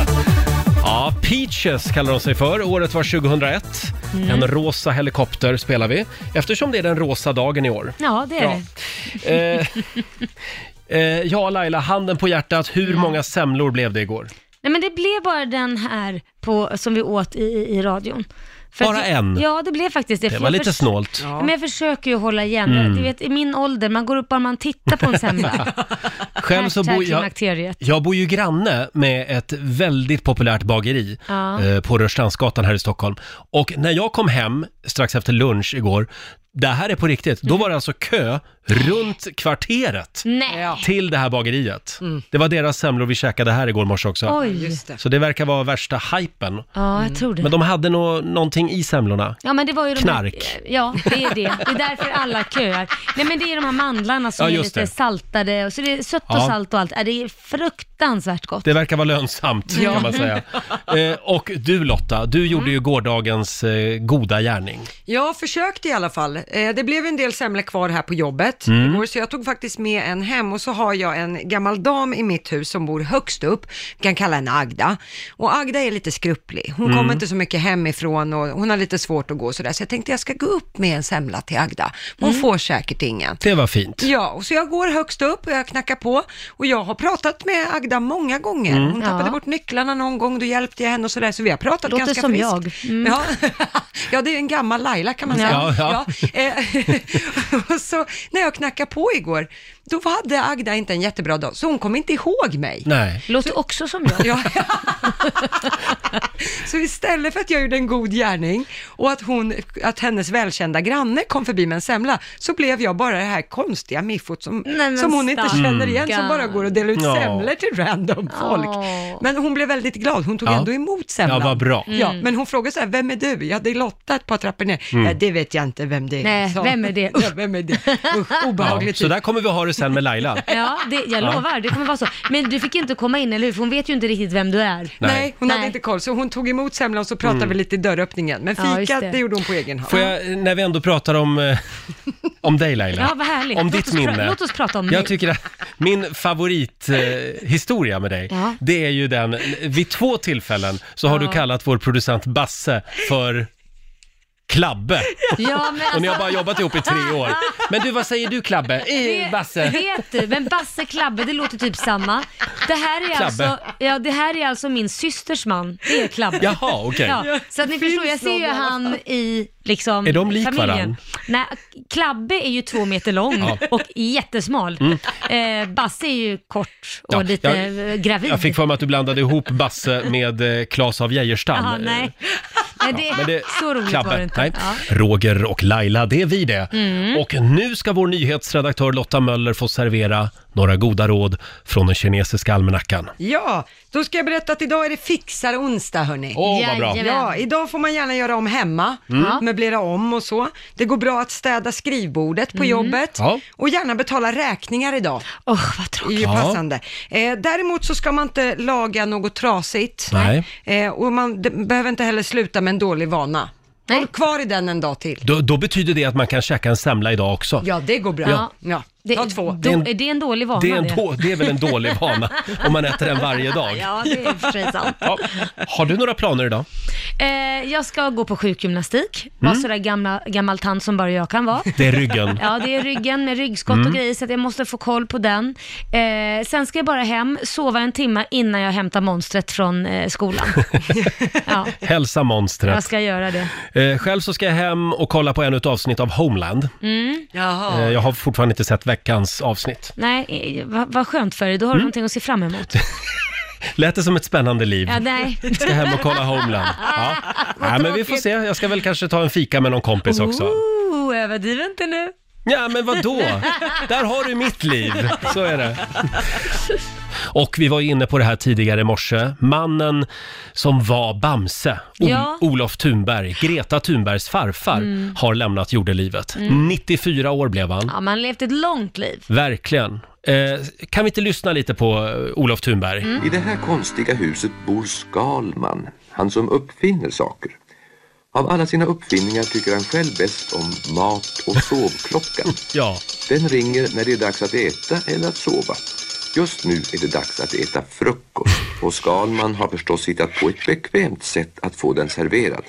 A: Ja, Peaches kallar de sig för. Året var 2001.
B: Mm.
A: En rosa helikopter spelar vi. Eftersom det är den rosa dagen i
B: (laughs)
A: år.
B: Ja, det är
A: Ja.
B: det.
A: Eh, eh, ja, Laila, handen på hjärtat. Hur många semlor blev det igår?
B: (laughs) Nej men det blev bara den här på, som vi åt i, i radion. att
A: Bara
B: jag,
A: en?
B: Ja, det blev faktiskt det.
A: Det
B: för
A: var
B: jag
A: lite
B: förs-
A: snålt.
B: Ja. Men jag försöker ju hålla igen.
A: Mm.
B: Du vet, i min ålder, man går upp bara man tittar på en semla.
A: (laughs) Själv så bor jag,
B: klimakteriet.
A: jag bor ju granne med ett väldigt populärt bageri
B: Ja.
A: eh, på Rörstrandsgatan här i Stockholm. Och när jag kom hem strax efter lunch igår, det här är på riktigt,
B: Mm.
A: då var det alltså kö runt kvarteret
B: Nej.
A: till det här bageriet. Det var deras semlor vi käkade här igår morse också.
B: Mm. Oj. Just det.
A: Så det verkar vara värsta hypen.
B: Ja, jag tror det.
A: Mm. Men de hade nå någonting i semlorna.
B: Ja men det var ju de
A: Knark.
B: Här, ja, det är det. Det är därför alla köar. Nej men det är de här mandlarna som
A: Ja,
B: är
A: just
B: lite
A: det.
B: saltade, och så det är sött och
A: Ja.
B: salt och allt. Ja, det är fruktansvärt gott.
A: Det verkar vara lönsamt
B: Ja. Mm.
A: kan man
B: (laughs)
A: säga. Eh, och du Lotta, du gjorde ju gårdagens eh, goda gärning.
C: Jag försökte i alla fall. Eh, det blev en del semlor kvar här på jobbet
A: Mm.
C: igår, så jag tog faktiskt med en hem och så har jag en gammal dam i mitt hus som bor högst upp. Vi kan kalla henne Agda. Och Agda är lite skrupplig. Hon
Q: Mm.
C: kommer inte så mycket hemifrån och hon har lite svårt att gå och sådär. Så jag tänkte jag ska gå upp med en semla till Agda. Hon
A: Mm.
C: får säkert ingen.
A: Det var fint.
C: Ja, och så jag går högst upp och jag knackar på och jag har pratat med Agda många gånger.
A: Mm.
C: Hon tappade
B: Ja.
C: bort nycklarna någon gång, då hjälpte jag henne och sådär, så vi har pratat
B: Låter
C: ganska
B: som
C: friskt.
B: jag. Mm.
C: Ja. (laughs) ja, det är en gammal Laila kan man säga.
B: Ja.
A: Ja,
C: (laughs) Ja, eh, och så när jag knackade på igår, då hade Agda inte en jättebra dag, så hon kom inte ihåg mig.
A: Nej.
B: Låter också som jag.
C: Ja. så istället för att jag gjorde en god gärning och att, hon, att hennes välkända granne kom förbi med en semla, så blev jag bara det här konstiga miffot som,
B: men
C: som hon inte
B: stackarn.
C: känner igen, som bara går och delar ut
A: Ja.
C: semlor till random folk. Men hon blev väldigt glad, hon tog
A: Ja.
C: ändå emot semlan.
A: Ja, vad bra.
C: Ja,
A: Mm.
C: men hon frågade så här, vem är du? Ja, det är Lotta ett par trappor ner.
A: Mm.
C: Ja, det vet jag inte vem det är.
B: Nej,
C: sa
B: vem
C: hon.
B: är det?
C: (laughs) Ja, vem är det? Usch, oh.
A: Ja,
B: typ.
C: obehagligt.
A: så där kommer vi ha det sen med Laila.
B: (laughs) Ja, det, jag
A: Ja.
B: lovar, det kommer vara så. Men du fick inte komma in, eller hur? För hon vet ju inte riktigt vem du är.
C: Nej, hon hade inte koll, så hon tog emot semlan och så pratade vi lite i dörröppningen. Men
B: Ja, just
C: fikat, det.
B: det.
C: gjorde hon på egen hand.
A: Mm. Får jag, när vi ändå pratar om, eh, om dig Laila.
B: Ja, vad härligt.
A: Om
B: Låt
A: ditt
B: oss pra-
A: minne.
B: låt oss prata om
A: Jag
B: mig.
A: tycker att min favorithistoria eh, historia med dig,
B: Ja.
A: det är ju den, vid två tillfällen så har
B: Ja.
A: du kallat vår producent Basse för Klabbe.
B: Ja, men
A: Och ni har
B: alltså-
A: bara jobbat ihop i
B: (laughs)
A: tre år. Men du, vad säger du Klabbe? Eh,
B: Vet-
A: Basse?
B: Vet du, men Basse Klabbe, det låter typ samma. Det här är,
A: Klabbe.
B: alltså, ja, det här är alltså min systers man, det är Klabbe.
A: Jaha, okej.
B: Ja, så att ni förstår, jag ser ju han i liksom
A: Är de lik
B: familjen.
A: varann?
B: Nej, Klabbe är ju två meter lång
A: Ja.
B: och jättesmal.
A: Mm.
B: Eh, Basse är ju kort och
A: Ja,
B: lite
A: jag-
B: eh, gravid.
A: Jag fick för mig att du blandade ihop Basse med eh, Claes av Geijerstam.
B: Jaha, nej. Nej, det,
A: eh, Men det,
B: så roligt
A: klabbe.
B: var det inte.
A: Nej.
B: Ja.
A: Roger och Laila, det är vi det.
B: Mm.
A: Och nu ska vår nyhetsredaktör Lotta Möller få servera några goda råd från den kinesiska almanackan.
C: Ja, då ska jag berätta att idag är det fixar onsdag hörni.
A: Åh, vad bra. Jajamän.
C: Ja, idag får man gärna göra om hemma,
A: Mm. Ja.
C: möblera om och så. Det går bra att städa skrivbordet på
A: Mm.
C: jobbet
A: Ja.
C: och gärna betala räkningar idag.
B: Åh, oh, vad tråkigt.
C: Det är
A: Ja.
C: ju passande. Eh, däremot så ska man inte laga något trasigt.
A: Nej.
C: Eh, och man d- behöver inte heller sluta med en dålig vana. Håll kvar i den en dag till.
A: Då, då betyder det att man kan käka en semla idag också.
C: Ja, det går bra.
A: Ja.
C: Ja. Ta två.
A: Det är en-
B: Då- det är en dålig vana
A: Det är, en då, det är väl en dålig vana om man äter den varje dag.
B: Ja, det är i och för sig sant.
A: Ja. Har du några planer idag?
B: Eh, jag ska gå på sjukgymnastik, vara
A: Mm.
B: sådär gamla, gammal tant som bara jag kan vara.
A: Det är ryggen.
B: Ja, det är ryggen med ryggskott
A: Mm.
B: och grejer, så att jag måste få koll på den. Eh, sen ska jag bara hem, sova en timme innan jag hämtar monstret från
A: (laughs)
B: eh, skolan. ja,
A: Hälsa
B: jag
A: monstret.
B: ska göra det.
A: Eh, själv så ska jag hem och kolla på ännu ett avsnitt av Homeland.
B: Mm.
A: Eh, jag har fortfarande inte sett veckans avsnitt.
B: Nej, eh, vad vad skönt för dig. Då har
A: Mm.
B: du någonting att se
A: (laughs)
B: fram emot.
A: Lät det som ett spännande liv?
B: Ja, nej.
A: Ska hem och kolla
B: (laughs)
A: Homeland. Ja. Nej, men vi får se. Jag ska väl kanske ta en fika med någon kompis också.
B: Oh, överdriv inte nu.
A: Ja, men vad då? Där har du mitt
B: (laughs)
A: liv. Så är det. Och vi var inne på det här tidigare i morse. Mannen som var Bamse, o-
B: Ja.
A: Olof Thunberg, Greta Thunbergs farfar,
B: Mm.
A: har lämnat jordelivet.
B: Mm.
A: 94 år blev han.
B: Ja, man har levt ett långt liv.
A: Verkligen. Eh, kan vi inte lyssna lite på eh, Olof Thunberg?
B: Mm.
D: I det här konstiga huset bor Skalman, han som uppfinner saker. Av alla sina uppfinningar tycker han själv bäst om mat och sovklockan.
A: ja.
D: Den ringer när det är dags att äta eller att sova. Just nu är det dags att äta frukost och Skalman har förstås hittat på ett bekvämt sätt att få den serverad.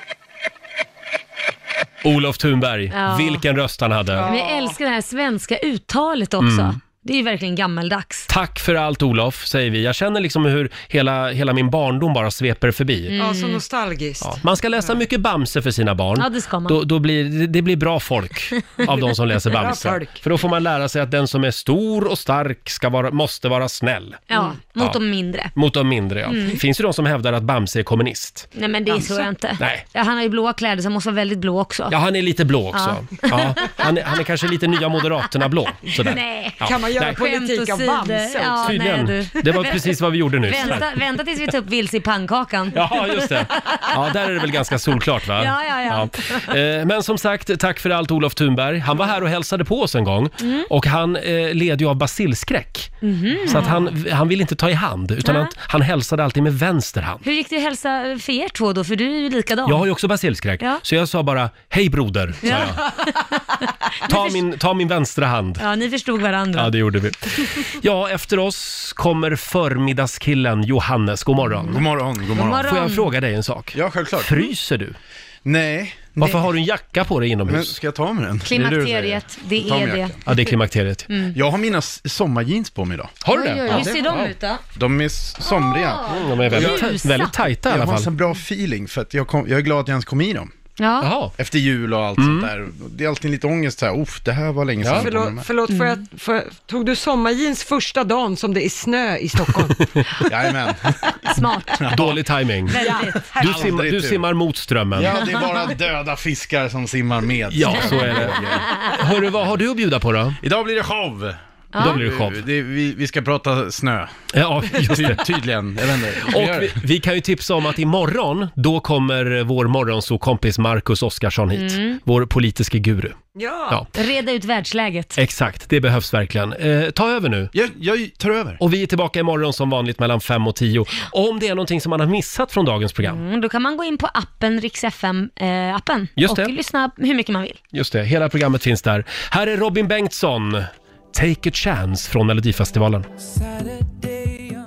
A: Olof Thunberg,
B: Ja.
A: vilken röst han hade.
B: Men jag älskar det här svenska uttalet också.
A: Mm.
B: Det är ju verkligen gammaldags.
A: Tack för allt Olof, säger vi. Jag känner liksom hur hela, hela min barndom bara sveper förbi.
C: Ja, så nostalgiskt.
A: Ja, Man ska läsa mycket Bamse för sina barn.
C: Ja, det ska man.
A: Då, då blir, det- det blir bra folk av de som läser
C: Bra
A: Bamse.
C: folk.
A: För då får man lära sig att den som är stor och stark ska vara, måste vara snäll. Mm.
B: Ja, mot
A: Ja.
B: de mindre.
A: Mot de mindre, ja.
B: Mm.
A: Finns det de som hävdar att Bamse är kommunist?
B: Nej men det
A: Alltså.
B: tror jag inte.
A: Nej.
B: Ja, han har ju blåa kläder så han måste vara väldigt blå också.
A: Ja, han är lite blå också.
B: Ja.
A: Ja. han, är, han är kanske lite nya Moderaterna-blå. sådär.
B: Nej.
A: Ja.
C: Kan man göra politik
B: Skämt
C: av
B: åsido.
C: Bamse också?
B: Ja,
A: Tydligen.
B: nej, du.
A: Det var precis vad vi gjorde nyss.
B: Vänta, vänta tills vi tar upp vilse i pannkakan.
A: Ja, just det. Ja, där är det väl ganska solklart va?
B: Ja, ja, ja.
A: Eh, Men som sagt, tack för allt Olof Thunberg. Han var här och hälsade på oss en gång
B: Mm.
A: och han eh, led ju av basilskräck.
B: (laughs) Mhm.
A: Så att han, han ville inte ta i hand utan
B: Nej.
A: han, han hälsade alltid med vänster hand.
B: Hur gick det att hälsa för er två då? För du är ju likadan.
A: Jag har ju också basilskräck,
B: Ja.
A: så jag sa bara hej broder. Sa
B: Ja.
A: jag.
B: (laughs)
A: Ta, min, ta min vänstra hand.
B: Ja, ni förstod varandra.
A: Ja, det gjorde vi. Ja, efter oss kommer förmiddagskillen Johannes. God morgon.
Q: God morgon, god morgon. morgon.
A: Får jag fråga dig en sak?
Q: Ja, självklart.
A: Fryser du?
Q: Nej.
A: Varför har du en jacka på dig inomhus?
Q: Men ska jag ta med den?
B: Klimakteriet, det är det.
A: Ja, det är klimakteriet.
B: E Mm.
Q: Jag har mina s- sommarjeans på mig idag.
A: Har du
B: Oj,
A: det?
B: oj, oj. Hur ser de ut Ah. då?
Q: De är s- somriga.
A: de är väldigt- Ljusa. väldigt tajta i alla
Q: Jag har
A: fall.
Q: en sån bra feeling för att jag, kom, jag är glad att jag ens kom i dem.
B: Ja. Jaha.
Q: Efter jul och allt
A: Mm.
Q: sånt där. Det är alltid lite ångest så här, uff, det här var länge sedan. jag kom
C: Förlåt,
Q: med."
C: förlåt får jag, får jag, tog du sommarjeans första dagen som det är snö i Stockholm?
Q: Jajamän.
B: Smart.
A: (laughs) Dålig timing.
C: Väldigt.
A: Du,
Q: Aldrig
A: simmar, du
Q: tur.
A: simmar mot strömmen.
Q: Ja, det är bara döda fiskar som simmar med.
A: Ja, så är det. Hörru, vad har du att bjuda på då?
Q: Idag blir det show.
A: Ja. Idag blir det show.
Q: Det, vi, vi ska prata snö.
A: Ja, just det.
Q: Ty, tydligen. Jag vet inte.
A: Och
Q: gör
A: vi,
Q: det.
A: vi kan ju tipsa om att imorgon, då kommer vår morgonsokompis Marcus Oskarsson hit.
B: Mm.
A: Vår politiske guru.
C: Ja.
B: Reda ut världsläget.
A: Exakt, det behövs verkligen. Eh, ta över nu.
Q: Jag, tar över.
A: Och vi är tillbaka imorgon som vanligt mellan 5 och 10. Och om det är någonting som man har missat från dagens program,
B: Mm, då kan man gå in på appen, Rix FM-appen,
A: Just
B: och
A: det.
B: lyssna hur mycket man vill.
A: just det, hela programmet finns där. Här är Robin Bengtsson, Take a chance från Melodifestivalen.
O: Saturday